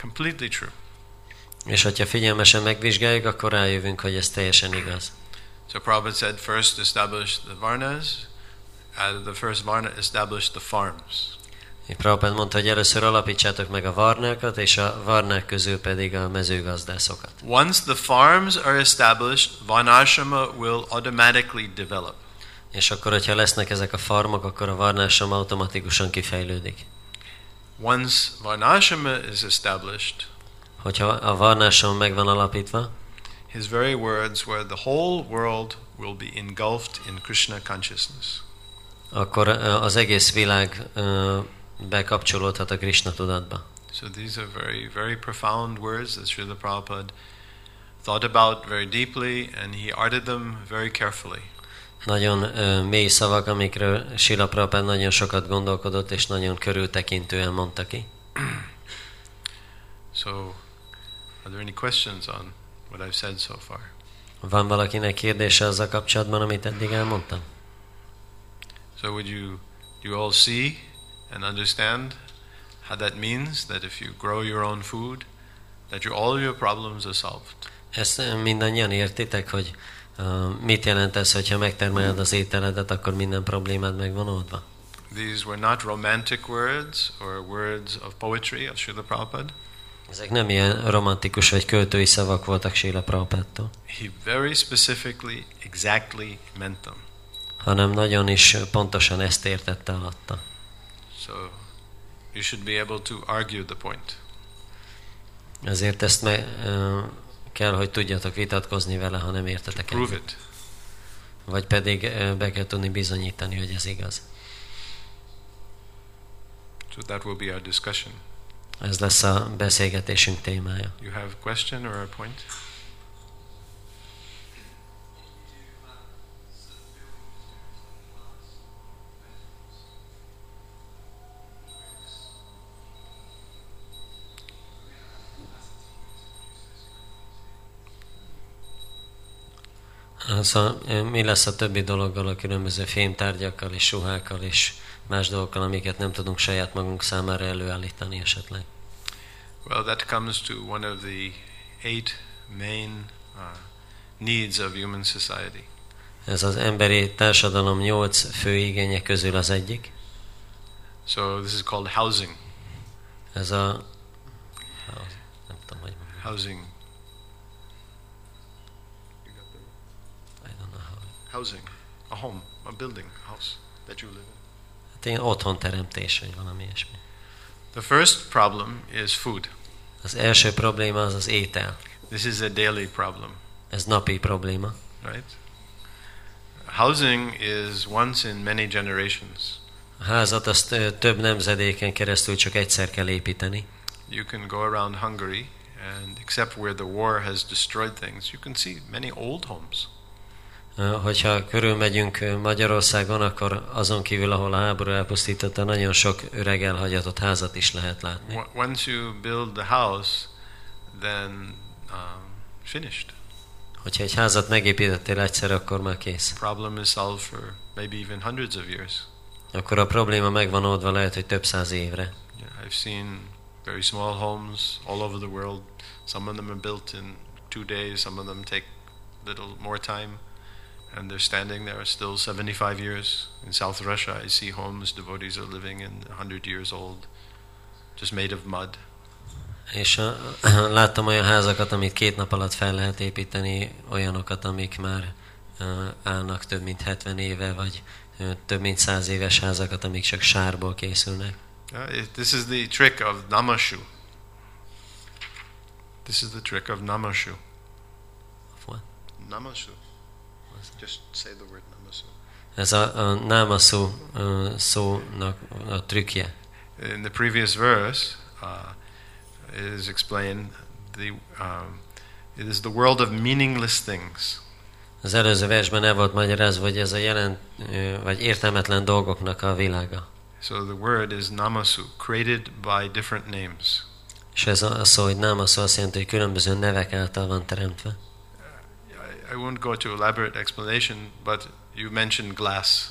S2: completely true.
S3: És hogyha figyelmesen megvizsgáljuk, akkor rájövünk, hogy ez teljesen igaz.
S2: So, Prabhupada said first establish the varnas, out of the first varna, establish the farms.
S3: Prabhupád mondta, hogy először alapítsátok meg a varnákat, és a varnák közül pedig a mezőgazdászokat.
S2: Once the farms are established, Vanashrama will automatically develop.
S3: És akkor, hogyha lesznek ezek a farmok, akkor a varnásom automatikusan kifejlődik.
S2: Once Varnashrama is established,
S3: Hogyha a varnásom meg van alapítva,
S2: his very words were the whole world will be engulfed in Krishna consciousness.
S3: akkor ö, az egész világ ö, bekapcsolódhat a Krishna tudatba.
S2: So these are very, very profound words that Srila Prabhupada thought about very deeply and he arted them very carefully.
S3: Nagyon ö, mély szavak, amikről Sila Prabhupád nagyon sokat gondolkodott, és nagyon körültekintően mondta ki.
S2: So, are there any questions on what I've said so far?
S3: Van valakinek kérdése azzal kapcsolatban, amit eddig elmondtam?
S2: So, would you, do you all see and understand how that means that if you grow your own food, that your, all your problems are solved?
S3: Ezt ö, mindannyian értitek, hogy ö, mit jelent ez, hogyha megtermeled az ételedet, akkor minden problémád megvan oldva?
S2: These were not romantic words or words of poetry of Srila Prabhupada.
S3: Ezek nem ilyen romantikus vagy költői szavak voltak Sila Prabhupától,
S2: He very specifically, exactly meant them.
S3: hanem nagyon is pontosan ezt értette alatta.
S2: So you should be able to argue the point.
S3: Ezért ezt meg, ö, kell, hogy tudjatok vitatkozni vele, ha nem értetek
S2: Prove
S3: el.
S2: it.
S3: Vagy pedig ö, be kell tudni bizonyítani, hogy ez igaz.
S2: So that will be our discussion.
S3: Ez lesz a beszélgetésünk témája.
S2: You have a question or a point?
S3: Szóval ö, mi lesz a többi dologgal, a különböző fémtárgyakkal és suhákkal és más dolgokkal, amiket nem tudunk saját magunk számára előállítani esetleg?
S2: Well, that comes to one of the eight main uh, needs of human society.
S3: Ez az emberi társadalom nyolc fő igénye közül az egyik.
S2: So this is called housing.
S3: Ez a... Nem tudom, hogy...
S2: Housing.
S3: I don't know how.
S2: Housing. A home. A building. A house that you live in.
S3: Hát ilyen otthon teremtés, vagy valami ilyesmi.
S2: The first problem is food.
S3: Az első probléma az az étel.
S2: This is a daily problem,
S3: Ez napi probléma.
S2: right? Housing is once in many generations.
S3: A házat azt ö, több nemzedéken keresztül csak egyszer kell építeni.
S2: You can go around Hungary, and except where the war has destroyed things, you can see many old homes.
S3: Ö, Hogyha körülmegyünk ö, Magyarországon, akkor azon kívül, ahol a háború elpusztította, nagyon sok öreg elhagyatott házat is lehet látni.
S2: W- once you build the house, then um, finished.
S3: Hogyha egy házat megépítettél egyszer, akkor már kész.
S2: Problem is solved for maybe even hundreds of years.
S3: Akkor a probléma megvan oldva lehet, hogy több száz évre.
S2: Yeah, I've seen very small homes all over the world. Some of them are built in two days, some of them take little more time, and they're standing there still 75 years. In South Russia, I see homes devotees are living in 100 years old, just made of mud.
S3: És a, láttam olyan házakat, amit két nap alatt fel lehet építeni, olyanokat, amik már ö, állnak több mint 70 éve, vagy ö, több mint 100 éves házakat, amik csak sárból készülnek.
S2: Uh, it, this is the trick of namashu. This is the trick of namashu.
S3: Of what?
S2: Namashu. Just say the word namashu.
S3: Ez a, a námaszú ö, szónak a trükkje.
S2: in the previous verse uh, it is explained the um, it is the world of meaningless things
S3: Az előző versben el volt magyarázva, hogy ez a jelent, ö, vagy értelmetlen dolgoknak a világa.
S2: so the word is namasu created by different names
S3: És ez a a szó, hogy námaszú azt jelenti, hogy különböző nevek által van teremtve.
S2: I, I won't go to elaborate explanation but you mentioned glass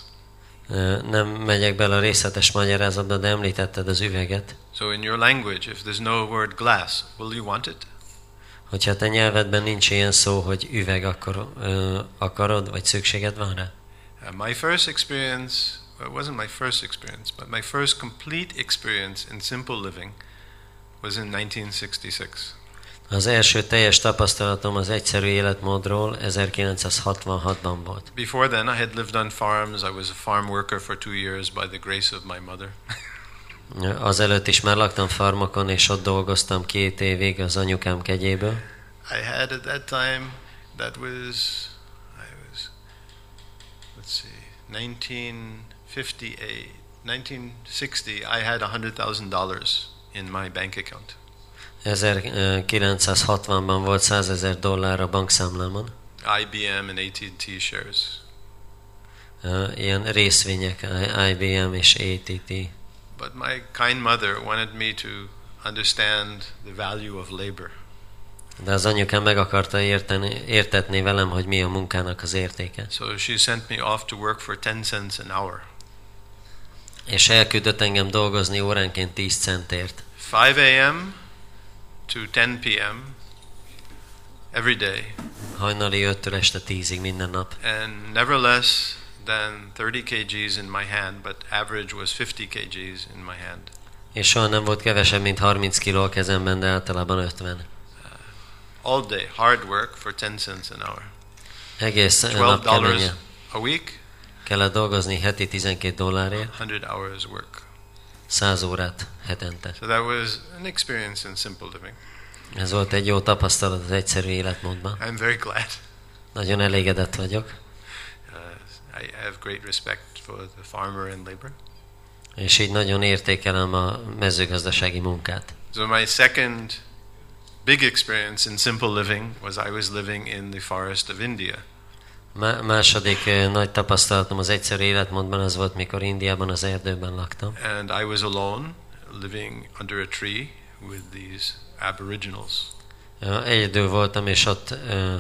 S3: Ö, Nem megyek bele a részletes magyarázatba, de említetted az üveget.
S2: so in your language if there's no word glass will you want it
S3: Hogyha te nyelvedben nincs ilyen szó, hogy üveg, akkor ö, akarod, vagy szükséged van rá?
S2: Uh, my first experience, well, it wasn't my first experience, but my first complete experience in simple living was in 1966.
S3: Az első teljes tapasztalatom az egyszerű életmódról 1966-ban volt.
S2: Before then, I had lived on farms. I was a farm worker for two years by the grace of my mother.
S3: Azelőtt is már laktam farmokon, és ott dolgoztam két évig az anyukám kegyéből.
S2: I had at that time, that was, I was, let's see, 1958, 1960, I had $100,000 in my bank account.
S3: 1960-ban volt 100 ezer dollár a bankszámlámon,
S2: IBM and AT&T shares.
S3: Ö, ilyen részvények, IBM és ATT.
S2: But my kind mother wanted me to understand the value of labor.
S3: De az anyukám meg akarta érteni, értetni velem, hogy mi a munkának az értéke.
S2: So she sent me off to work for 10 cents an hour.
S3: És elküldött engem dolgozni óránként 10 centért.
S2: 5 a.m. to 10 p.m. every day,
S3: Hajnali 5-től este 10-ig minden nap.
S2: and never less than 30 kgs in my hand, but average was 50 kgs in my hand.
S3: És soha nem volt kevesebb, mint 30 kiló a kezemben, de általában 50.
S2: All day, hard work for 10 cents an hour.
S3: Egész nap
S2: $12
S3: keményen
S2: a week,
S3: kellett dolgozni heti 12 dollárért,
S2: 100 hours work.
S3: 100 órát hetente.
S2: So that was an experience in simple living.
S3: Ez volt egy jó tapasztalat az egyszerű életmódban.
S2: I'm very glad.
S3: Nagyon elégedett vagyok,
S2: Uh, I have great respect for the farmer and labor.
S3: és így nagyon értékelem a mezőgazdasági munkát.
S2: So my second big experience in simple living was I was living in the forest of India.
S3: Má- második ö, nagy tapasztalatom az egyszerű életmódban az volt, mikor Indiában az erdőben laktam.
S2: And I was alone, living under a tree with these aboriginals.
S3: Ö, Egyedül voltam, és ott ö,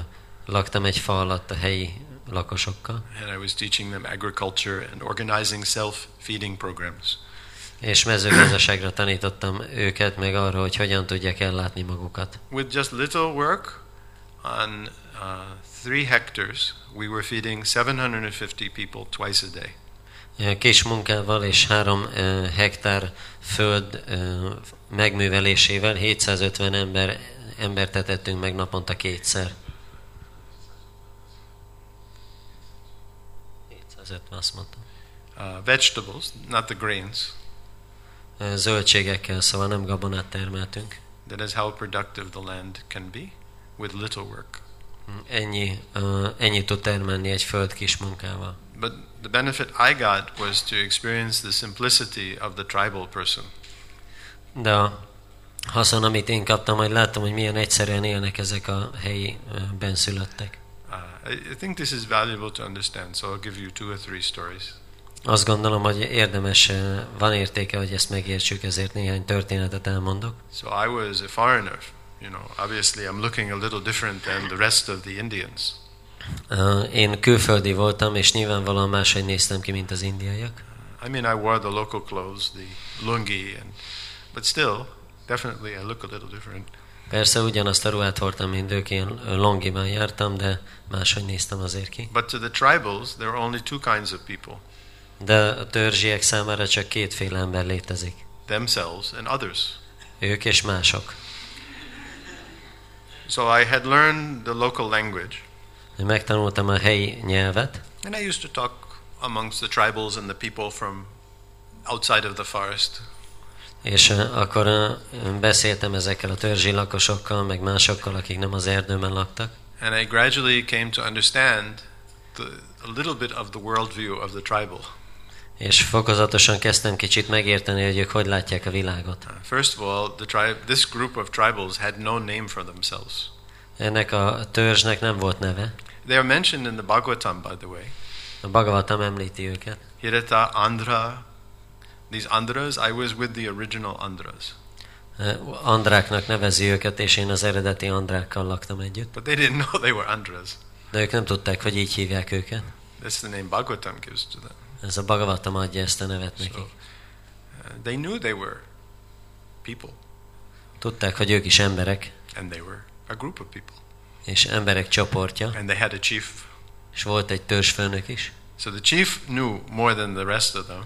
S3: laktam egy fa alatt a helyi lakosokkal,
S2: And I was teaching them agriculture and organizing self feeding programs.
S3: és mezőgazdaságra tanítottam őket, meg arra, hogy hogyan tudják ellátni magukat.
S2: With just little work, on uh, three hectares, we were feeding 750 people twice a day.
S3: Kis munkával és három ö, hektár föld ö, megművelésével 750 ember, embert etettünk meg naponta kétszer. 750, azt mondtam.
S2: Uh, vegetables, not the grains.
S3: Ö, Zöldségekkel, szóval nem gabonát termeltünk.
S2: That is how productive the land can be with little work.
S3: Ennyi, ö, ennyit tud termelni egy föld kis munkával.
S2: But the benefit I got was to experience the simplicity of the tribal person.
S3: De a haszon, amit én kaptam, hogy láttam, hogy milyen egyszerűen élnek ezek a helyi ö, benszülöttek.
S2: Uh, I, I think this is valuable to understand, so I'll give you two or three stories.
S3: Azt gondolom, hogy érdemes, ö, van értéke, hogy ezt megértsük, ezért néhány történetet elmondok.
S2: So I was a foreigner. You know, obviously I'm looking a little different than the rest of the Indians.
S3: Ö, Eh, Én külföldi voltam, és nyilvánvalóan máshogy néztem ki, mint az indiaiak.
S2: I mean, I wore the local clothes, the lungi, and but still, definitely I look a little different.
S3: Persze ugyanazt a ruhát hordtam, mint ők, én ö, longiban jártam, de máshogy néztem azért ki.
S2: But to the tribals, there are only two kinds of people:
S3: De a törzsiek számára csak kétféle ember létezik.
S2: themselves and others.
S3: Ők és mások.
S2: So I had learned the local language,
S3: Én Megtanultam a helyi nyelvet,
S2: and I used to talk amongst the tribals and the people from outside of the forest.
S3: És ö, akkor ö, beszéltem ezekkel a törzsi lakosokkal, meg másokkal, akik nem az erdőben laktak,
S2: And I gradually came to understand the, a little bit of the worldview of the tribal.
S3: és fokozatosan kezdtem kicsit megérteni, hogy ők hogy látják a világot.
S2: Uh, First of all, the tribe, this group of tribals had no name for themselves.
S3: Ennek a törzsnek nem volt neve,
S2: They are mentioned in the Bhagavatam, by the way.
S3: a Bhagavatam említi őket.
S2: Hirata, Andhra. These Andhras, I was with the original Andhras.
S3: Ö, Andráknak nevezi őket, és én az eredeti Andrákkal laktam együtt,
S2: But they didn't know they were Andhras.
S3: de ők nem tudták, hogy így hívják őket.
S2: That's the name Bhagavatam gives to them.
S3: Ez a Bhagavatam adja ezt a nevet
S2: So,
S3: nekik.
S2: uh, they knew they were people,
S3: Tudták, hogy ők is emberek,
S2: and they were a group of people,
S3: és emberek csoportja,
S2: and they had a chief.
S3: és volt egy törzsfőnök is.
S2: So the chief knew more than the rest of them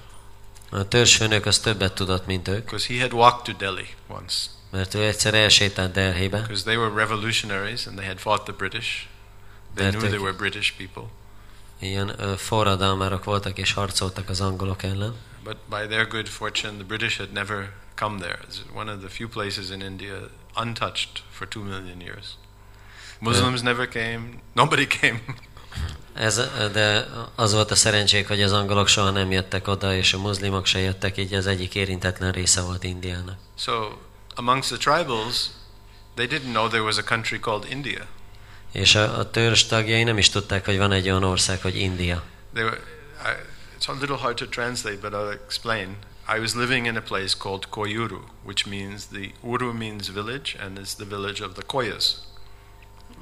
S3: A törzsfőnök az többet tudott, mint ők.
S2: because he had walked to Delhi once.
S3: Mert ő egyszer elsétált Delhibe,
S2: Because they were revolutionaries and they had fought the British. They
S3: They're
S2: knew they
S3: taking-
S2: were British people.
S3: ilyen ö, forradalmárok voltak és harcoltak az angolok ellen,
S2: But by their good fortune, the British had never come there. It's one of the few places in India untouched for two million years. Muslims never came. Nobody came.
S3: Ez, ö, de az volt a szerencsék, hogy az angolok soha nem jöttek oda, és a muszlimok se jöttek, így az egyik érintetlen része volt Indiának.
S2: so amongst the tribals, they didn't know there was a country called India.
S3: És a, a törzs tagjai nem is tudták, hogy van egy olyan ország, hogy India.
S2: They were. I, it's a little hard to translate, but I'll explain. I was living in a place called Koyuru, which means the Uru means village, and it's the village of the Koyas.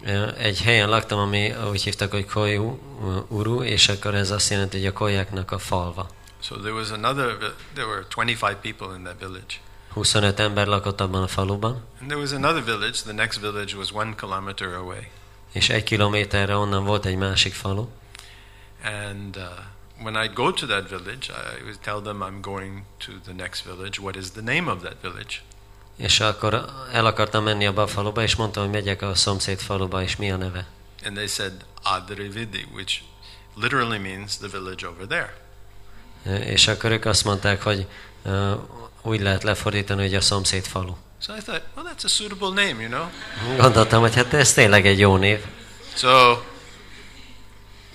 S3: Ö, Egy helyen laktam, ami úgy hívtak, hogy Koyu ö, Uru, és akkor ez azt jelenti, hogy a kolyáknak a falva.
S2: So there was another, vi- there were 25 people in that village.
S3: 25 ember lakott abban a faluban,
S2: And there was another village, the next village was one kilometer away.
S3: és egy kilométerre onnan volt egy másik falu,
S2: And uh, when I'd go to that village, I would tell them I'm going to the next village. What is the name of that village?
S3: És akkor el akartam menni abba a faluba, és mondtam, hogy megyek a szomszéd faluba, és mi a neve.
S2: And they said Adrividi, which literally means the village over there.
S3: Ö, És akkor ők azt mondták, hogy ö, úgy lehet lefordítani, hogy a szomszéd falu.
S2: So I thought, well, that's a suitable name, you know?
S3: Gondoltam, hogy hát ez tényleg egy jó név.
S2: So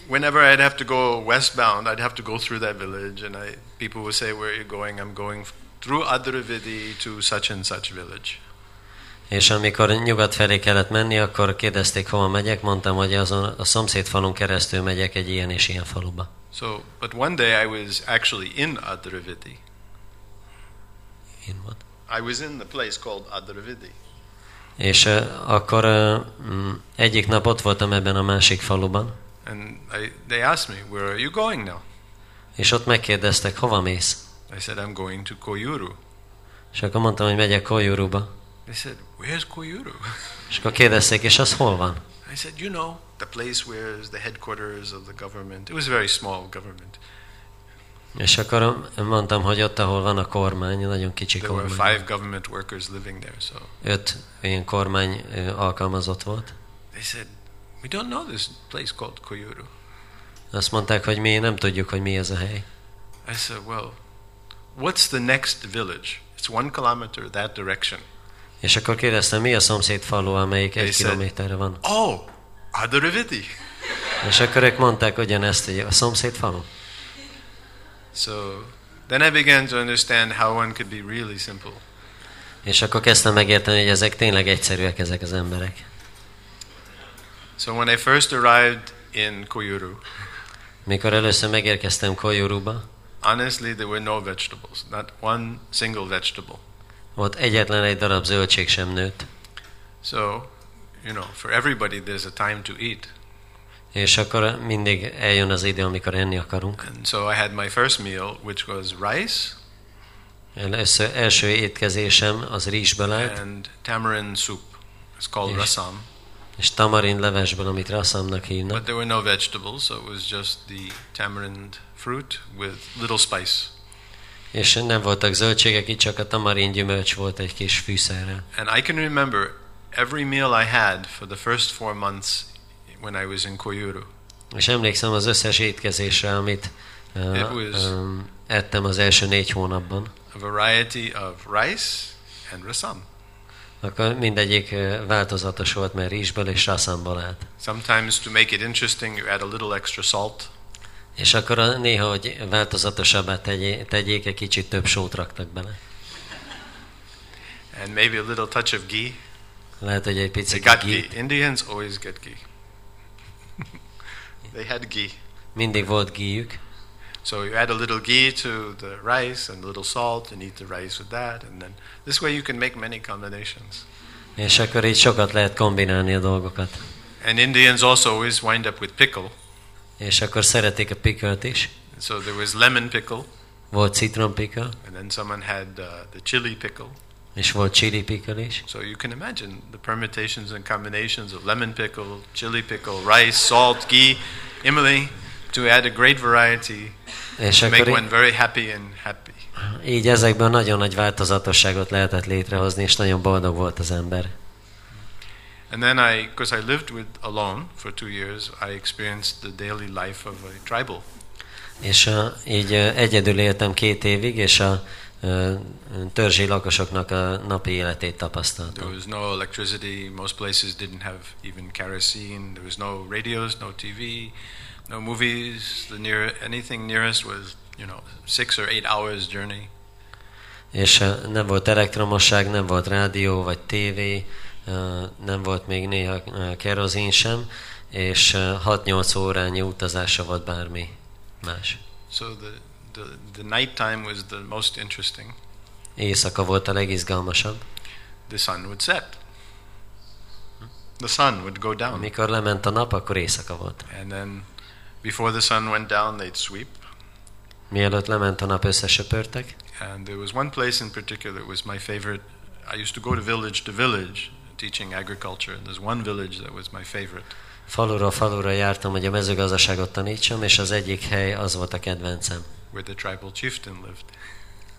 S2: whenever I'd have to go westbound, I'd have to go through that village, and I, people would say, "Where are you going?" I'm going through Adruvidi to such and such village.
S3: És amikor nyugat felé kellett menni, akkor kérdezték, hova megyek, mondtam, hogy azon a szomszéd falun keresztül megyek egy ilyen és ilyen faluba.
S2: So, but one day I was actually in Adruvidi.
S3: Én volt.
S2: I was in the place called Adruvidi,
S3: És ö, akkor ö, mm, egyik nap ott voltam ebben a másik faluban,
S2: and I, they asked me, "Where are you going now?"
S3: és ott megkérdeztek, hova mész?
S2: I said, "I'm going to Koyuru."
S3: És akkor mondtam, hogy megyek Koyuruba.
S2: They said, "Where's Koyuru?"
S3: És akkor kérdezték, és az hol van?
S2: I I said, you know, the place where is the headquarters of the government. It was a very small government.
S3: És akkor a- mondtam, hogy ott, ahol van a kormány, nagyon kicsi
S2: There were
S3: kormány.
S2: five government workers living there. So
S3: Öt ilyen kormány ö, alkalmazott volt.
S2: they said, we don't know this place called Koyuru.
S3: Azt mondták, hogy mi nem tudjuk, hogy mi ez a hely.
S2: I said, well, what's the next village? It's one kilometer that direction.
S3: És akkor kérdeztem, mi a szomszéd falu, amelyik egy
S2: They said-
S3: kilométerre van.
S2: Oh, Adariviti.
S3: És akkor ők mondták ugyanezt, hogy a szomszéd falu.
S2: So then I began to understand how one could be really simple.
S3: És akkor kezdtem megérteni, hogy ezek tényleg egyszerűek ezek az emberek.
S2: So when I first arrived in Koyuru,
S3: Mikor először megérkeztem Koyuruba,
S2: honestly, there were no vegetables, not one single vegetable.
S3: ott egyetlen egy darab zöldség sem nőtt.
S2: So, you know, for everybody, there's a time to eat.
S3: És akkor mindig eljön az idő, amikor enni akarunk.
S2: And so I had my first meal, which was rice
S3: Először első étkezésem az rizsből állt,
S2: and tamarind soup. It's called
S3: Yes.
S2: rasam.
S3: és tamarind levesből, amit rasszamnak
S2: But
S3: hívnak.
S2: there were no vegetables, so it was just the tamarind fruit with little spice.
S3: És nem voltak zöldségek, itt csak a tamarind gyümölcs volt egy kis fűszerrel.
S2: And I can remember every meal I had for the first four months when I was in Koyuru.
S3: És emlékszem az összes étkezésre, amit
S2: It
S3: uh,
S2: was-
S3: um, ettem az első négy hónapban.
S2: A variety of rice and rasam.
S3: Akkor mindegyik ö, változatos volt, mert rizsből és rasszamból állt.
S2: Sometimes to make it interesting, you add a little extra salt.
S3: És akkor a- néha, hogy változatosabbá tegyé, tegyék, egy kicsit több sót raktak bele.
S2: And maybe a little touch of ghee.
S3: Lehet, hogy egy
S2: They
S3: picit
S2: got ghee.
S3: ghee.
S2: Indians always get ghee. they had ghee.
S3: Mindig volt gíjük,
S2: So you add a little ghee to the rice and a little salt and eat the rice with that. And then this way you can make many combinations.
S3: és akkor így sokat lehet kombinálni a dolgokat.
S2: And Indians also always wind up with pickle.
S3: És akkor szeretik a pikölt is.
S2: So there was lemon pickle,
S3: Volt citrompikkel,
S2: and then someone had uh, the chili pickle.
S3: és volt chili pikkel is.
S2: So you can imagine the permutations and combinations of lemon pickle, chili pickle, rice, salt, ghee, imali, to add a great variety
S3: És
S2: to make
S3: akkor
S2: one
S3: így,
S2: very happy and happy.
S3: így ezekből nagyon nagy változatosságot lehetett létrehozni, és nagyon boldog volt az ember.
S2: And then I, because I lived with alone for two years, I experienced the daily life of a tribal.
S3: És a, így ö, egyedül éltem két évig, és a ö, törzsi lakosoknak a napi életét
S2: There
S3: tapasztaltam.
S2: was no electricity. Most places didn't have even kerosene. There was no radios, no TV, no movies. The near anything nearest was you know six or eight hours journey.
S3: És ö, nem volt elektromosság, nem volt rádió vagy tévé, ö, nem volt még néha ö, kerozin sem, és ö, 6-8 órányi utazása volt bármi más.
S2: So the the, the nighttime was the most interesting.
S3: Éjszaka volt a legizgalmasabb.
S2: The sun would set. The sun would go down,
S3: Amikor lement a nap, akkor éjszaka volt.
S2: and then before the sun went down, they'd sweep.
S3: Mielőtt lement a nap, összesöpörtek,
S2: And there was one place in particular that was my favorite. I used to go to village to village teaching agriculture, and there's one village that was my favorite.
S3: faluról falura jártam, hogy a mezőgazdaságot tanítsam, és az egyik hely az volt a kedvencem.
S2: where the tribal chieftain lived.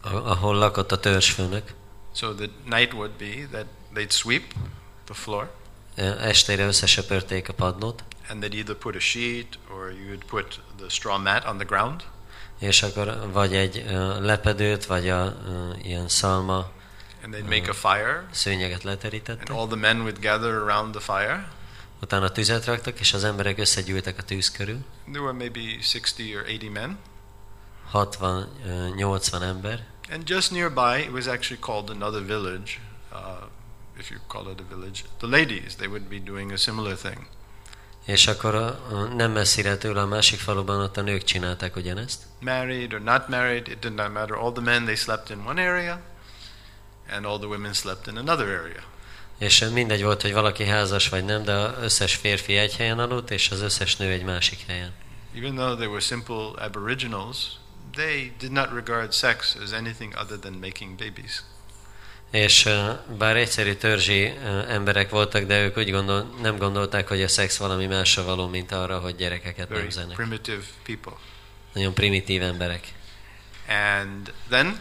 S3: A- ahol lakott a törzsfőnök.
S2: So the night would be that they'd sweep the floor,
S3: Estére összesöpörték a padlót,
S2: and they'd either put a sheet or you'd put the straw mat on the ground,
S3: és akkor vagy egy ö, lepedőt, vagy a ö, ilyen szalma
S2: and they'd make a fire,
S3: szőnyeget
S2: and
S3: leterítettek,
S2: all the men would gather around the fire.
S3: utána tüzet raktak, és az emberek összegyűltek a tűz körül.
S2: There were maybe 60 or 80 men,
S3: 60-80 ember,
S2: and just nearby, it was actually called another village, uh, if you call it a village. The ladies, they would be doing a similar thing.
S3: és akkor a, a nem messzire tőle a másik faluban ott a nők csinálták ugyanezt.
S2: Married or not married, it did not matter. All the men, they slept in one area, and all the women slept in another area.
S3: És mindegy volt, hogy valaki házas vagy nem, de az összes férfi egy helyen aludt, és az összes nő egy másik helyen.
S2: Even though they were simple aboriginals, they did not regard sex as anything other than making babies.
S3: És ö, bár egyszerű törzsi ö, emberek voltak, de ők úgy gondol, nem gondolták, hogy a szex valami másra való, mint arra, hogy gyerekeket
S2: very
S3: nemzenek.
S2: primitive people.
S3: Nagyon primitív emberek.
S2: And then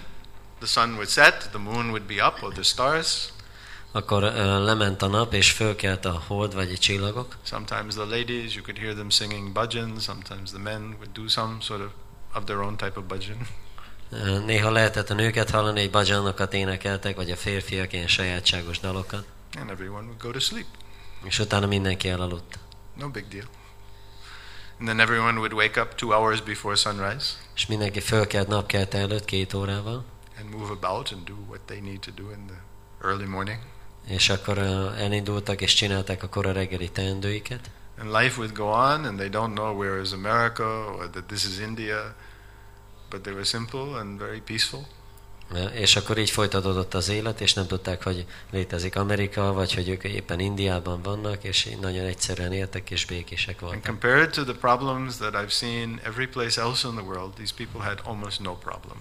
S2: the sun would set, the moon would be up, or the stars.
S3: Akkor ö, lement a nap, és fölkelt a hold, vagy a csillagok.
S2: Sometimes the ladies, you could hear them singing bhajans. Sometimes the men would do some sort of of their own type of bhajan.
S3: Ö, Néha lehetett a nőket hallani, hogy bajanokat énekeltek, vagy a férfiak ilyen sajátságos dalokat.
S2: And everyone would go to sleep.
S3: És utána mindenki elaludt.
S2: No big deal. And then everyone would wake up two hours before sunrise
S3: És mindenki fölkelt napkelte előtt két órával,
S2: and move about and do what they need to do in the early morning.
S3: és akkor ö, elindultak és csinálták a kora reggeli teendőiket.
S2: And life would go on, and they don't know where is America or that this is India. But they were simple and very peaceful.
S3: Ö, És akkor így folytatódott az élet, és nem tudták, hogy létezik Amerika, vagy hogy ők éppen Indiában vannak, és így nagyon egyszerűen éltek és békések
S2: And
S3: voltak.
S2: compared to the problems that I've seen every place else in the world, these people had almost no problem.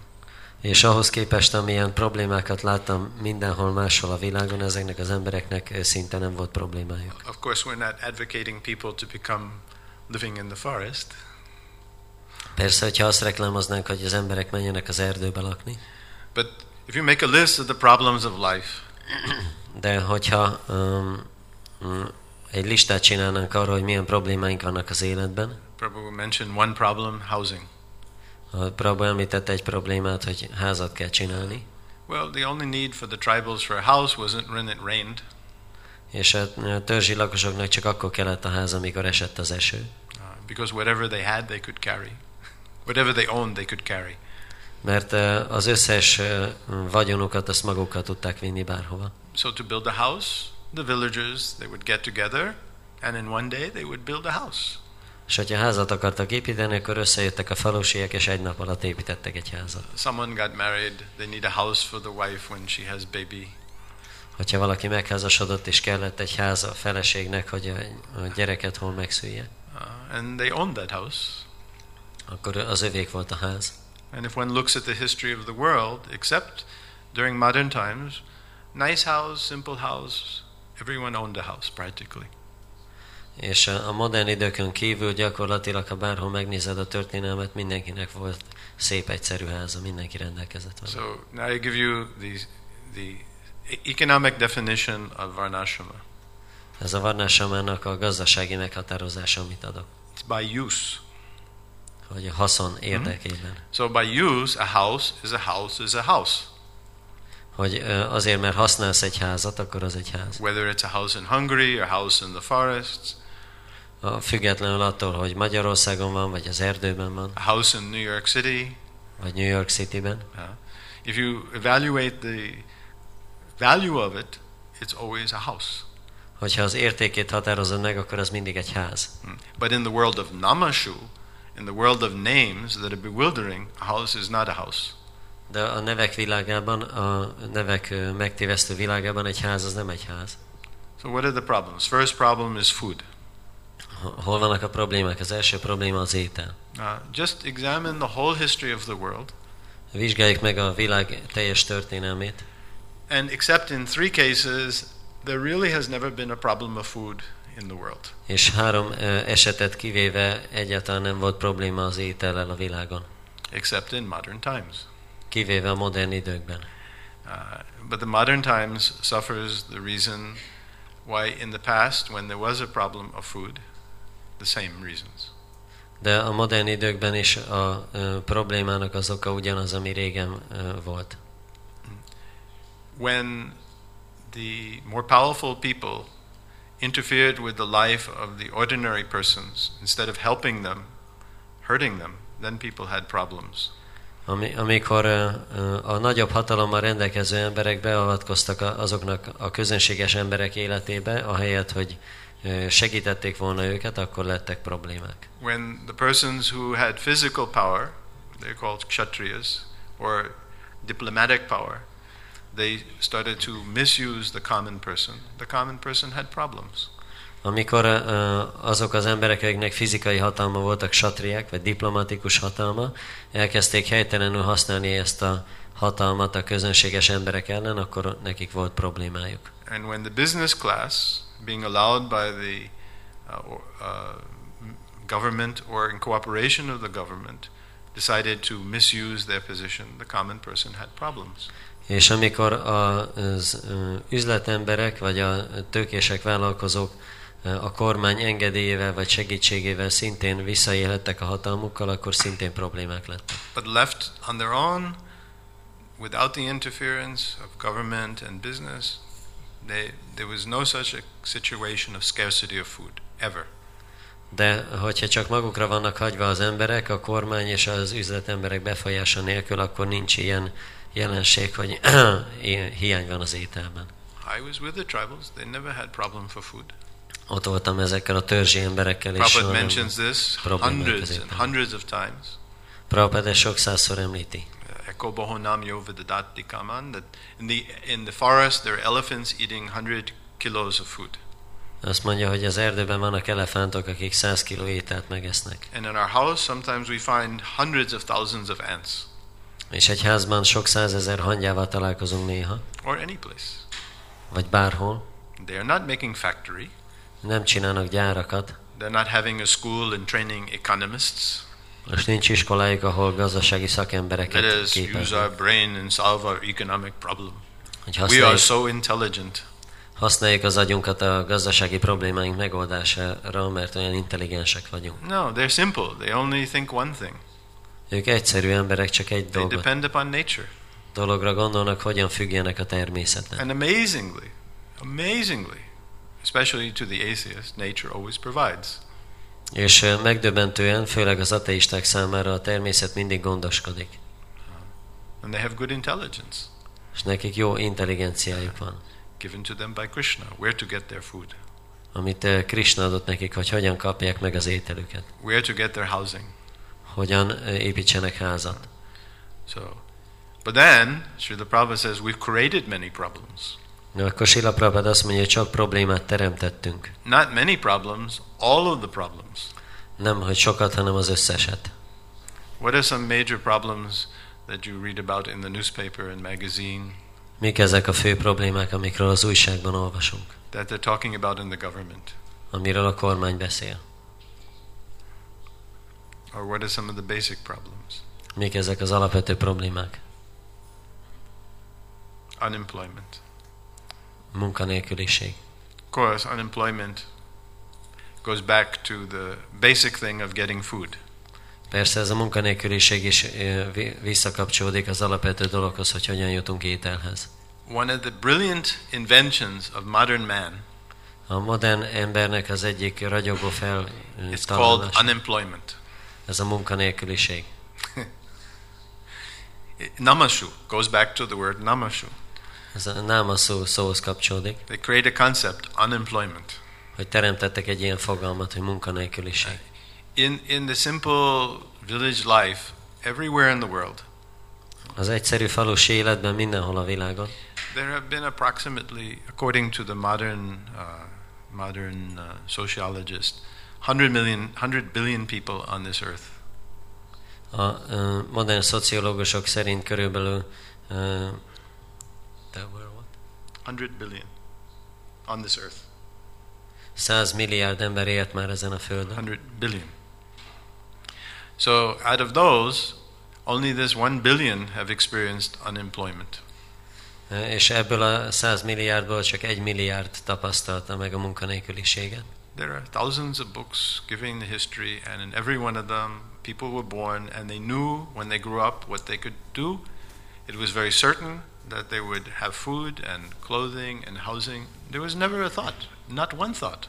S3: És ahhoz képest, amilyen problémákat láttam mindenhol máshol a világon, ezeknek az embereknek ö, szinte nem volt problémájuk.
S2: Of course, we're not advocating people to become living in the forest,
S3: Persze, hogyha azt reklámoznánk, hogy az emberek menjenek az erdőbe lakni,
S2: but if you make a list of the problems of life,
S3: de hogyha um, mm, egy listát csinálnánk arról, hogy milyen problémáink vannak az életben,
S2: Prabhu mentioned one problem housing.
S3: a Prabhu említette egy problémát, hogy házat kell csinálni,
S2: Well, the only need for the tribals for a house wasn't when it rained.
S3: és a a törzsi lakosoknak csak akkor kellett a ház, amikor esett az eső,
S2: Uh, because whatever they had, they could carry. whatever they owned, they could carry.
S3: mert ö, az összes ö, vagyonukat azt magukkal tudták vinni bárhova.
S2: So to build a house, the villagers they would get together, and in one day they would build a house.
S3: És hogyha házat akartak építeni, akkor összejöttek a falusiek, és egy nap alatt építettek egy házat.
S2: Someone got married, they need a house for the wife when she has baby.
S3: Hogyha valaki megházasodott, és kellett egy ház a feleségnek, hogy a a gyereket hol megszülje,
S2: Uh, and they owned that house.
S3: akkor az övék volt a ház.
S2: And if one looks at the history of the world, except during modern times, nice house, simple house, everyone owned a house practically.
S3: És a a modern időkön kívül gyakorlatilag, ha bárhol megnézed a történelmet, mindenkinek volt szép, egyszerű háza, mindenki rendelkezett vele.
S2: So now I give you the the e- economic definition of varnashrama.
S3: Ez a varnásamának a gazdasági meghatározása, amit adok,
S2: It's by use.
S3: hogy a haszon érdekében.
S2: So by use, a house is a house is a house.
S3: Hogy ö, azért, mert használsz egy házat, akkor az egy ház.
S2: Whether it's a house in Hungary, a house in the forests,
S3: A függetlenül attól, hogy Magyarországon van, vagy az erdőben van,
S2: a house in New York City.
S3: vagy New York Cityben.
S2: If you evaluate the value of it, it's always a house.
S3: Hogyha az értékét határozod meg, akkor az mindig egy ház.
S2: Hmm. But in the world of namashu, in the world of names that are bewildering, a house is not a house.
S3: De a nevek világában, a nevek ö, megtévesztő világában egy ház az nem egy ház.
S2: So what are the problems? First problem is food.
S3: Ho- Hol vannak a problémák? Az első probléma az étel.
S2: Uh, just examine the whole history of the world,
S3: Vizsgáljuk meg a világ teljes történelmét,
S2: and except in three cases, there really has never been a problem of food in the world.
S3: és három ö, esetet kivéve egyáltalán nem volt probléma az étellel a világon.
S2: except in modern times.
S3: Kivéve a modern időkben.
S2: Uh, but the modern times suffers the reason why, in the past, when there was a problem of food, the same reasons.
S3: De a modern időkben is a ö, problémának az oka ugyanaz, ami régen ö, volt.
S2: When the more powerful people interfered with the life of the ordinary persons, instead of helping them, hurting them, then people had problems.
S3: Ami, amikor ö, ö, a nagyobb hatalommal rendelkező emberek beavatkoztak a- azoknak a közönséges emberek életébe, ahelyett, hogy ö, segítették volna őket, akkor lettek problémák.
S2: When the persons who had physical power, they're called kshatriyas, or diplomatic power, they started to misuse the common person. The common person had problems.
S3: Amikor ö, ö, azok az emberek, akiknek fizikai hatalma voltak satriák, vagy diplomatikus hatalma, elkezdték helytelenül használni ezt a hatalmat a közönséges emberek ellen, akkor nekik volt problémájuk.
S2: And when the business class, being allowed by the uh, or- uh, government or in cooperation of the government, decided to misuse their position, the common person had problems.
S3: És amikor a- az ö, üzletemberek vagy a tőkések vállalkozók ö, a kormány engedélyével vagy segítségével szintén visszaélhettek a hatalmukkal, akkor szintén problémák lettek.
S2: But left on their own, without the interference of government and business, they, there was no such a situation of scarcity of food, ever.
S3: De hogyha csak magukra vannak hagyva az emberek, a kormány és az üzletemberek befolyása nélkül, akkor nincs ilyen jelenség, hogy ilyen hiány van az ételben.
S2: I was with the tribals, they never had problem for food.
S3: Ott voltam ezekkel a törzsi emberekkel, és
S2: Prabhupada
S3: soha nem-
S2: mentions this
S3: Problem
S2: hundreds
S3: is it
S2: and
S3: then?
S2: hundreds of times. Uh,
S3: Prabhupada ezt sok százszor említi.
S2: Eko bohonam yo vidadati kaman that in the in the forest there are elephants eating hundred kilos of food,
S3: Azt mondja, hogy az erdőben vannak elefántok, akik 100 kiló ételt megesznek.
S2: and in our house sometimes we find hundreds of thousands of ants
S3: És egy házban sok százezer hangyával találkozunk néha,
S2: or any place.
S3: vagy bárhol.
S2: They are not making factory.
S3: Nem csinálnak gyárakat,
S2: They're not having a school and training economists.
S3: és nincs iskolájuk, ahol gazdasági
S2: Let
S3: szakembereket
S2: us use our
S3: képeznek.
S2: brain and solve our economic problem.
S3: Hogy
S2: We are
S3: használjuk,
S2: so intelligent.
S3: használjuk az agyunkat a gazdasági problémáink megoldására, mert olyan intelligensek vagyunk.
S2: No, they're simple. They only think one thing.
S3: Ők egyszerű emberek, csak egy
S2: They
S3: dolgot,
S2: depend upon nature.
S3: dologra gondolnak, hogyan függjenek a természetnek.
S2: And amazingly, amazingly, especially to the atheist, nature always provides.
S3: És ö, megdöbbentően, főleg az ateisták számára a természet mindig gondoskodik.
S2: And they have good intelligence
S3: és nekik jó intelligenciájuk van,
S2: given to them by Krishna, where to get their food,
S3: amit eh, Krishna adott nekik, hogy hogyan kapják meg az ételüket,
S2: where to get their housing.
S3: hogyan eh, építsenek házat.
S2: So, but then Srila Prabhupada says we've created many problems.
S3: Na, Akkor Sila Prabhupada azt mondja, hogy csak problémát teremtettünk.
S2: Not many problems, all of the problems.
S3: Nem, hogy sokat, hanem az összeset.
S2: What are some major problems that you read about in the newspaper and magazine
S3: Mik ezek a fő problémák, amikről az újságban olvasunk,
S2: that they're talking about in the government?
S3: amiről a kormány beszél?
S2: Or what are some of the basic problems?
S3: Mik ezek az alapvető problémák?
S2: Unemployment.
S3: Munkanélküliség.
S2: Of course, unemployment goes back to the basic thing of getting food.
S3: Persze ez a munkanélküliség is eh, vi- visszakapcsolódik az alapvető dologhoz, hogy hogyan jutunk ételhez.
S2: One of the brilliant inventions of modern man
S3: A modern embernek az egyik ragyogó fel
S2: is called
S3: tanulása,
S2: unemployment.
S3: ez a munkanélküliség.
S2: It- Namashu goes back to the word namashu.
S3: Ez a náma szó, szóhoz kapcsolódik,
S2: They create a concept, unemployment.
S3: hogy teremtettek egy ilyen fogalmat, hogy munkanélküliség.
S2: In, in the simple village life, everywhere in the world,
S3: Az egyszerű falusi életben mindenhol a világon
S2: there have been approximately, according to the modern, uh, modern uh, sociologist, 100, million, 100 billion people on this earth.
S3: a ö, modern szociológusok szerint körülbelül ö, te volt?
S2: 100 billion on this earth.
S3: 100 milliárd ember élt már ezen a földön.
S2: 100 billion. So out of those, only this 1 billion have experienced unemployment.
S3: Ö, És ebből a 100 milliárdból csak 1 milliárd tapasztalta meg a munkanélküliséget.
S2: There are thousands of books giving the history, and in every one of them, people were born and they knew when they grew up what they could do. It was very certain that they would have food and clothing and housing. There was never a thought, not one thought.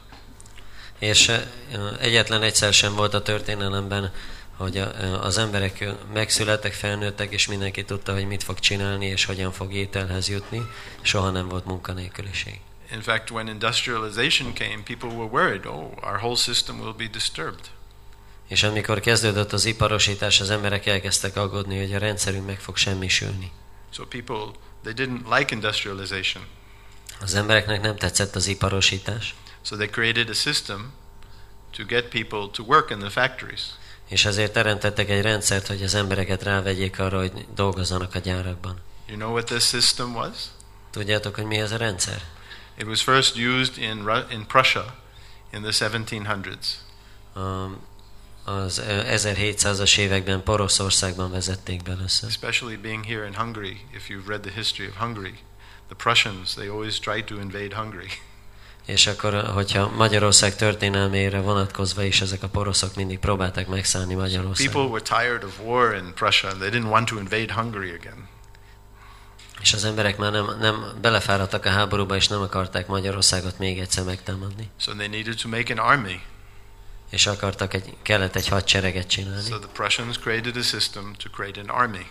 S3: És ö, egyetlen egyszer sem volt a történelemben, hogy a- ö, az emberek ö, megszülettek, felnőttek, és mindenki tudta, hogy mit fog csinálni, és hogyan fog ételhez jutni. Soha nem volt munkanélküliség.
S2: In fact, when industrialization came, people were worried, oh, our whole system will be disturbed.
S3: És amikor kezdődött az iparosítás, az emberek elkezdtek aggódni, hogy a rendszerünk meg fog semmisülni.
S2: So people, they didn't like industrialization.
S3: Az embereknek nem tetszett az iparosítás,
S2: So they created a system to get people to work in the factories.
S3: és ezért teremtettek egy rendszert, hogy az embereket rávegyék arra, hogy dolgozzanak a gyárakban.
S2: You know what this system was?
S3: Tudjátok, hogy mi ez a rendszer?
S2: It was first used in, Ru- in Prussia in the 1700s.
S3: A, az ö, 1700-as években Poroszországban vezették be először.
S2: Especially being here in Hungary, if you've read the history of Hungary, the Prussians, they always tried to invade Hungary.
S3: És akkor, hogyha Magyarország történelmére vonatkozva is ezek a poroszok mindig próbálták megszállni
S2: People
S3: Magyarországot.
S2: were tired of war in Prussia and they didn't want to invade Hungary again.
S3: És az emberek már nem, nem belefáradtak a háborúba, és nem akarták Magyarországot még egyszer megtámadni.
S2: So they needed to make an army.
S3: És akartak egy, kellett egy hadsereget csinálni.
S2: So the Prussians created a system to create an army.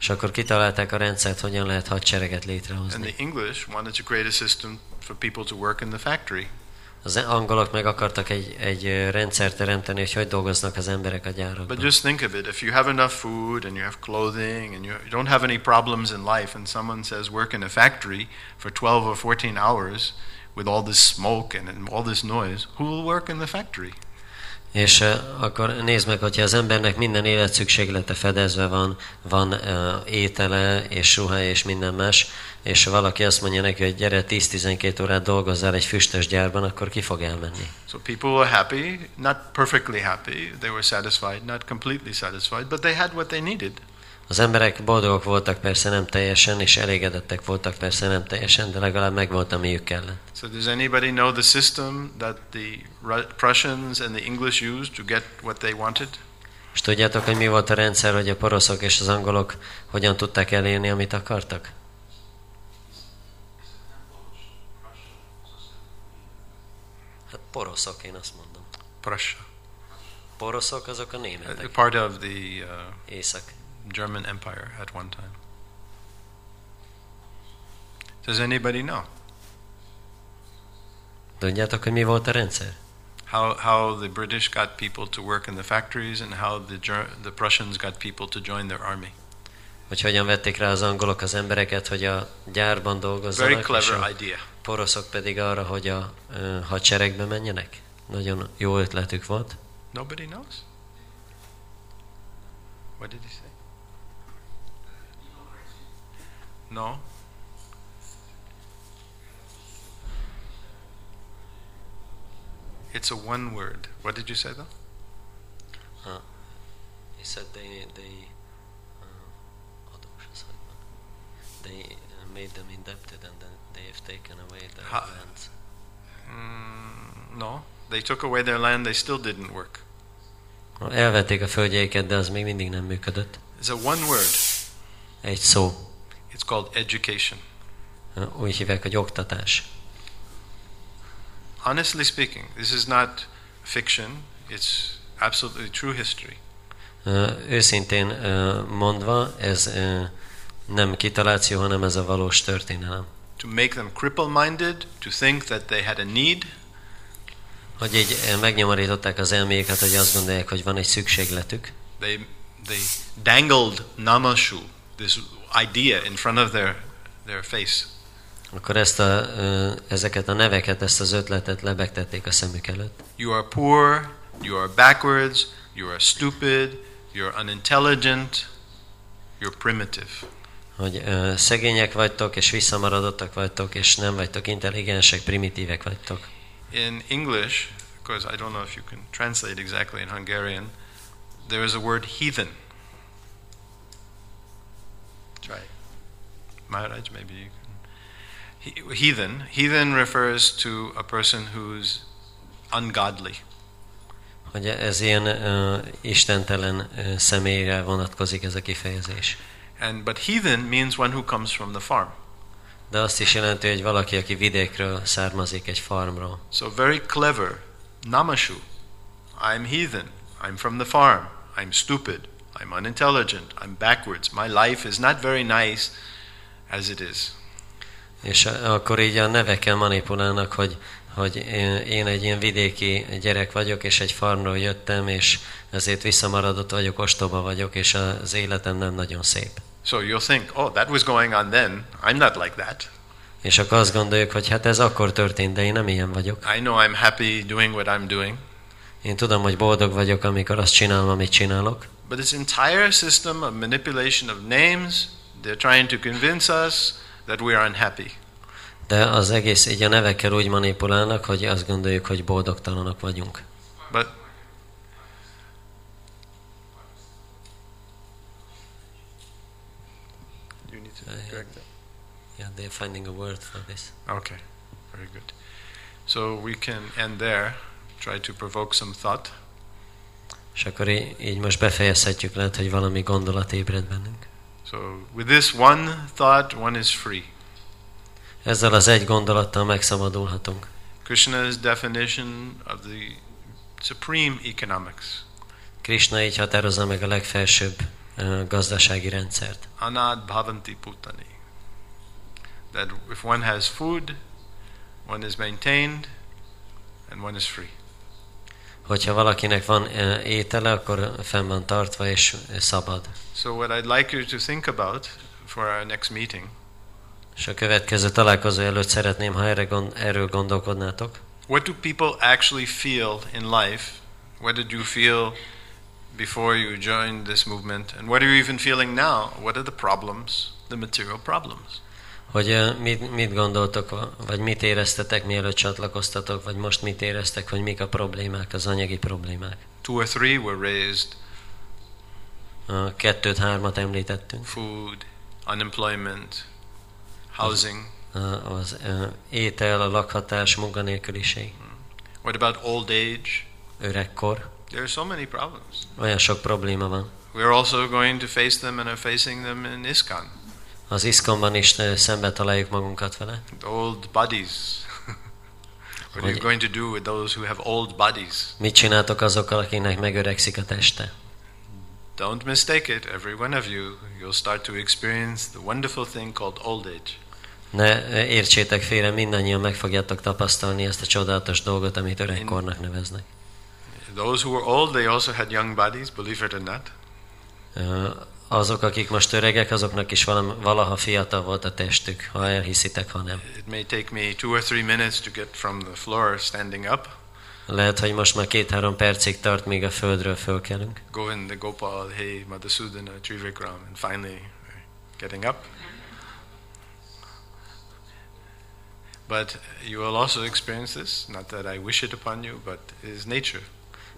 S3: És akkor kitalálták a rendszert, hogyan lehet hadsereget
S2: And
S3: létrehozni.
S2: the English wanted to create a system for people to work in the factory.
S3: Az angolok meg akartak egy, egy ö, rendszert teremteni, hogy hogy dolgoznak az emberek a
S2: But
S3: gyárakban.
S2: just think of it if you have enough food and you have clothing and you, you don't have any problems in life, and someone says work in a factory for 12 or 14 hours with all this smoke and, and all this noise, who will work in the factory?
S3: És ö, akkor nézd meg, hogyha az embernek minden életszükséglete fedezve van, van ö, étele és ruha és minden más, és valaki azt mondja neki, hogy gyere 10-12 órát dolgozzál egy füstös gyárban, akkor ki fog elmenni.
S2: So people were happy, not perfectly happy. They were satisfied, not completely satisfied, but they had what they needed.
S3: Az emberek boldogok voltak persze nem teljesen, és elégedettek voltak persze nem teljesen, de legalább megvolt, amiük kellett.
S2: So does anybody know the system that the Ru- Prussians and the English used to get what they wanted?
S3: És tudjátok, hogy mi volt a rendszer, hogy a poroszok és az angolok hogyan tudták elérni, amit akartak? Hát poroszok, én azt mondom.
S2: Prussia,
S3: Poroszok azok a
S2: a
S3: németek,
S2: Uh, part of the uh,
S3: észak.
S2: German Empire at one time. Does anybody know
S3: Tudjátok, hogy mi volt a rendszer?
S2: how, how the British got people to work in the factories and how the, Ger- the Prussians got people to join their army?
S3: Hogy hogyan vették rá az angolok az embereket, hogy a gyárban dolgozzanak,
S2: Very
S3: és
S2: clever
S3: a
S2: idea.
S3: poroszok pedig arra, hogy a ö, hadseregbe menjenek? Nagyon jó ötletük volt.
S2: Nobody knows. What did he say? No. It's a one word. What did you say though?
S3: He said they they uh, adós az, hogy van. they uh, made them indebted and then they have taken away their
S2: Ha-
S3: lands.
S2: Mm, no. They took away their land, they still didn't work.
S3: Elvették a földjeiket, de az még mindig nem működött.
S2: It's a one word.
S3: Egy szó.
S2: It's called education.
S3: Uh, Úgy hívják, hogy oktatás.
S2: Honestly speaking, this is not fiction, it's absolutely true history.
S3: Uh, Őszintén uh, mondva, ez uh, nem kitaláció, hanem ez a valós történelem.
S2: To make them cripple minded, to think that they had a need,
S3: Hogy így uh, megnyomorították az elméket, hogy azt gondolják, hogy van egy szükségletük,
S2: they they dangled namashu this idea in front of their their face
S3: akkor ezt a, uh, ezeket a neveket, ezt az ötletet lebegtették a szemük előtt.
S2: you are poor you are backwards you are stupid you're unintelligent you're primitive
S3: hogy ö, szegények vagytok, és visszamaradottak vagytok, és nem vagytok intelligensek, primitívek vagytok.
S2: in english because i don't know if you can translate exactly in hungarian there is a word heathen try it. maharaj maybe you can He- heathen heathen refers to a person who's ungodly
S3: Hogy ez ilyen ö, istentelen ö, személyre vonatkozik ez a kifejezés.
S2: And but heathen means one who comes from the farm.
S3: De azt is jelenti, hogy valaki, aki vidékről származik, egy farmról.
S2: So very clever. Namashu. I'm heathen. I'm from the farm. I'm stupid. I'm unintelligent. I'm backwards. My life is not very nice as it is.
S3: És a- akkor így a nevekkel manipulálnak, hogy, hogy ö, én egy ilyen vidéki gyerek vagyok, és egy farmról jöttem, és ezért visszamaradott vagyok, ostoba vagyok, és az életem nem nagyon szép.
S2: So you'll think, oh, that was going on then. I'm not like that.
S3: És akkor azt gondoljuk, hogy hát ez akkor történt, de én nem ilyen vagyok.
S2: I know I'm happy doing what I'm doing.
S3: Én tudom, hogy boldog vagyok, amikor azt csinálom, amit csinálok,
S2: But this entire system of manipulation of names, They're trying to convince us that we are unhappy.
S3: De az egész így a nevekkel úgy manipulálnak, hogy azt gondoljuk, hogy boldogtalanok vagyunk.
S2: But you need to
S3: Uh, yeah.
S2: correct that.
S3: Yeah, they're finding a word for this.
S2: Okay, very good. So we can end there. Try to provoke some thought.
S3: És akkor í- így most befejezhetjük, lehet, hogy valami gondolat ébred bennünk.
S2: So with this one thought, one is free.
S3: Ezzel az egy gondolattal megszabadulhatunk.
S2: Krishna's definition of the supreme economics,
S3: Krishna így határozza meg a legfelsőbb ö, gazdasági rendszert.
S2: anad bhavanti putani. That if one has food, one is maintained, and one is free.
S3: Hogyha valakinek van ö, étele, akkor fenn van tartva és szabad.
S2: So what I'd like you to think about for our next meeting,
S3: És a következő találkozó előtt szeretném, ha erre gond, erről gondolkodnátok.
S2: what do people actually feel in life? What did you feel before you joined this movement? And what are you even feeling now? What are the problems, the material problems?
S3: Hogy ö, mit, mit gondoltok, vagy mit éreztetek, mielőtt csatlakoztatok, vagy most mit éreztek, hogy mik a problémák, az anyagi problémák.
S2: Two or three were raised
S3: Ö, Kettőt, hármat említettünk.
S2: food, unemployment, housing.
S3: Ö, Az ö, étel, a lakhatás, munkanélküliség,
S2: What about old age?
S3: öregkor.
S2: There are so many problems.
S3: Olyan sok probléma van.
S2: We're also going to face them and are facing them in ISKCON.
S3: Az iszkomban is ö, szembe találjuk magunkat vele.
S2: Old bodies. what are you
S3: Hogy-
S2: going to do with those who have old bodies?
S3: Mit csináltok azokkal, akinek megöregszik a teste?
S2: Don't mistake it, every one of you. You'll start to experience the wonderful thing called old age.
S3: Ne ö, értsétek félre, mindannyian meg fogjátok tapasztalni ezt a csodálatos dolgot, amit öregkornak neveznek.
S2: Those who were old, they also had young bodies, believe it or not.
S3: Ö, Azok, akik most öregek, azoknak is valam, valaha fiatal volt a testük, ha elhiszitek, ha nem.
S2: It may take me two or three minutes to get from the floor standing up.
S3: Lehet, hogy most már két-három percig tart, míg a földről fölkelünk.
S2: Govinda Gopal, hey Madhusudana, Trivikram, and finally getting up. But you will also experience this, not that I wish it upon you, but it is nature.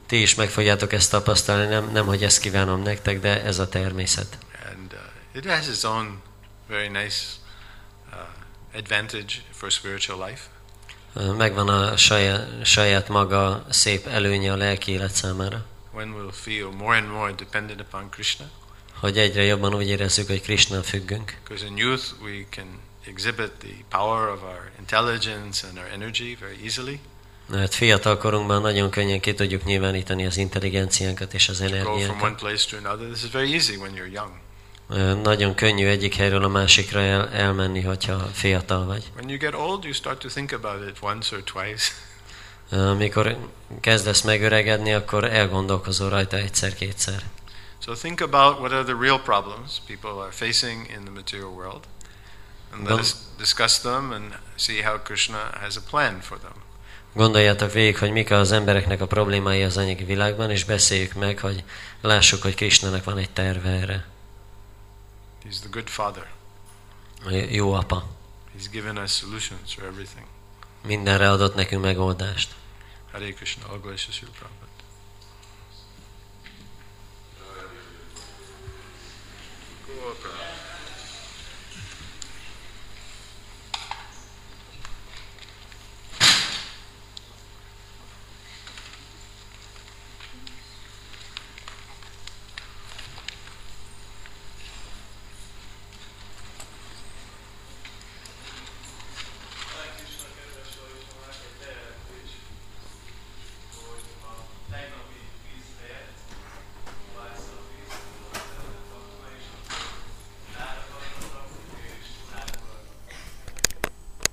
S3: Ti is meg fogjátok ezt tapasztalni, nem, nem hogy ezt kívánom nektek, de ez a természet.
S2: And uh, it has its own very nice uh, advantage for spiritual life.
S3: Ö, Megvan a saját, saját maga szép előnye a lelki élet számára,
S2: One will feel more and more dependent upon Krishna,
S3: hogy egyre jobban úgy érezzük, hogy Krishnán függünk.
S2: because in youth we can exhibit the power of our intelligence and our energy very easily.
S3: Mert fiatal korunkban nagyon könnyen ki tudjuk nyilvánítani az intelligenciánkat és az
S2: Go from one
S3: energiánkat.
S2: place to another. This is very easy when you're young.
S3: Ö, Nagyon könnyű egyik helyről a másikra el, elmenni, hogyha fiatal vagy.
S2: When you get old, you start to think about it once or twice.
S3: Ö, Amikor kezdesz megöregedni, akkor elgondolkozol rajta egyszer-kétszer.
S2: So think about what are the real problems people are facing in the material world, and let
S3: Well-
S2: us discuss them and see how Krishna has a plan for them.
S3: Gondoljátok végig, hogy mik az embereknek a problémái az anyagi világban, és beszéljük meg, hogy lássuk, hogy Krisnának van egy terve erre.
S2: He's the good father.
S3: J- Jó apa.
S2: He's given us solutions for everything.
S3: Mindenre adott nekünk megoldást.
S2: Hare Krishna, all glories to Srila Prabhupada. Go, Prabhupada.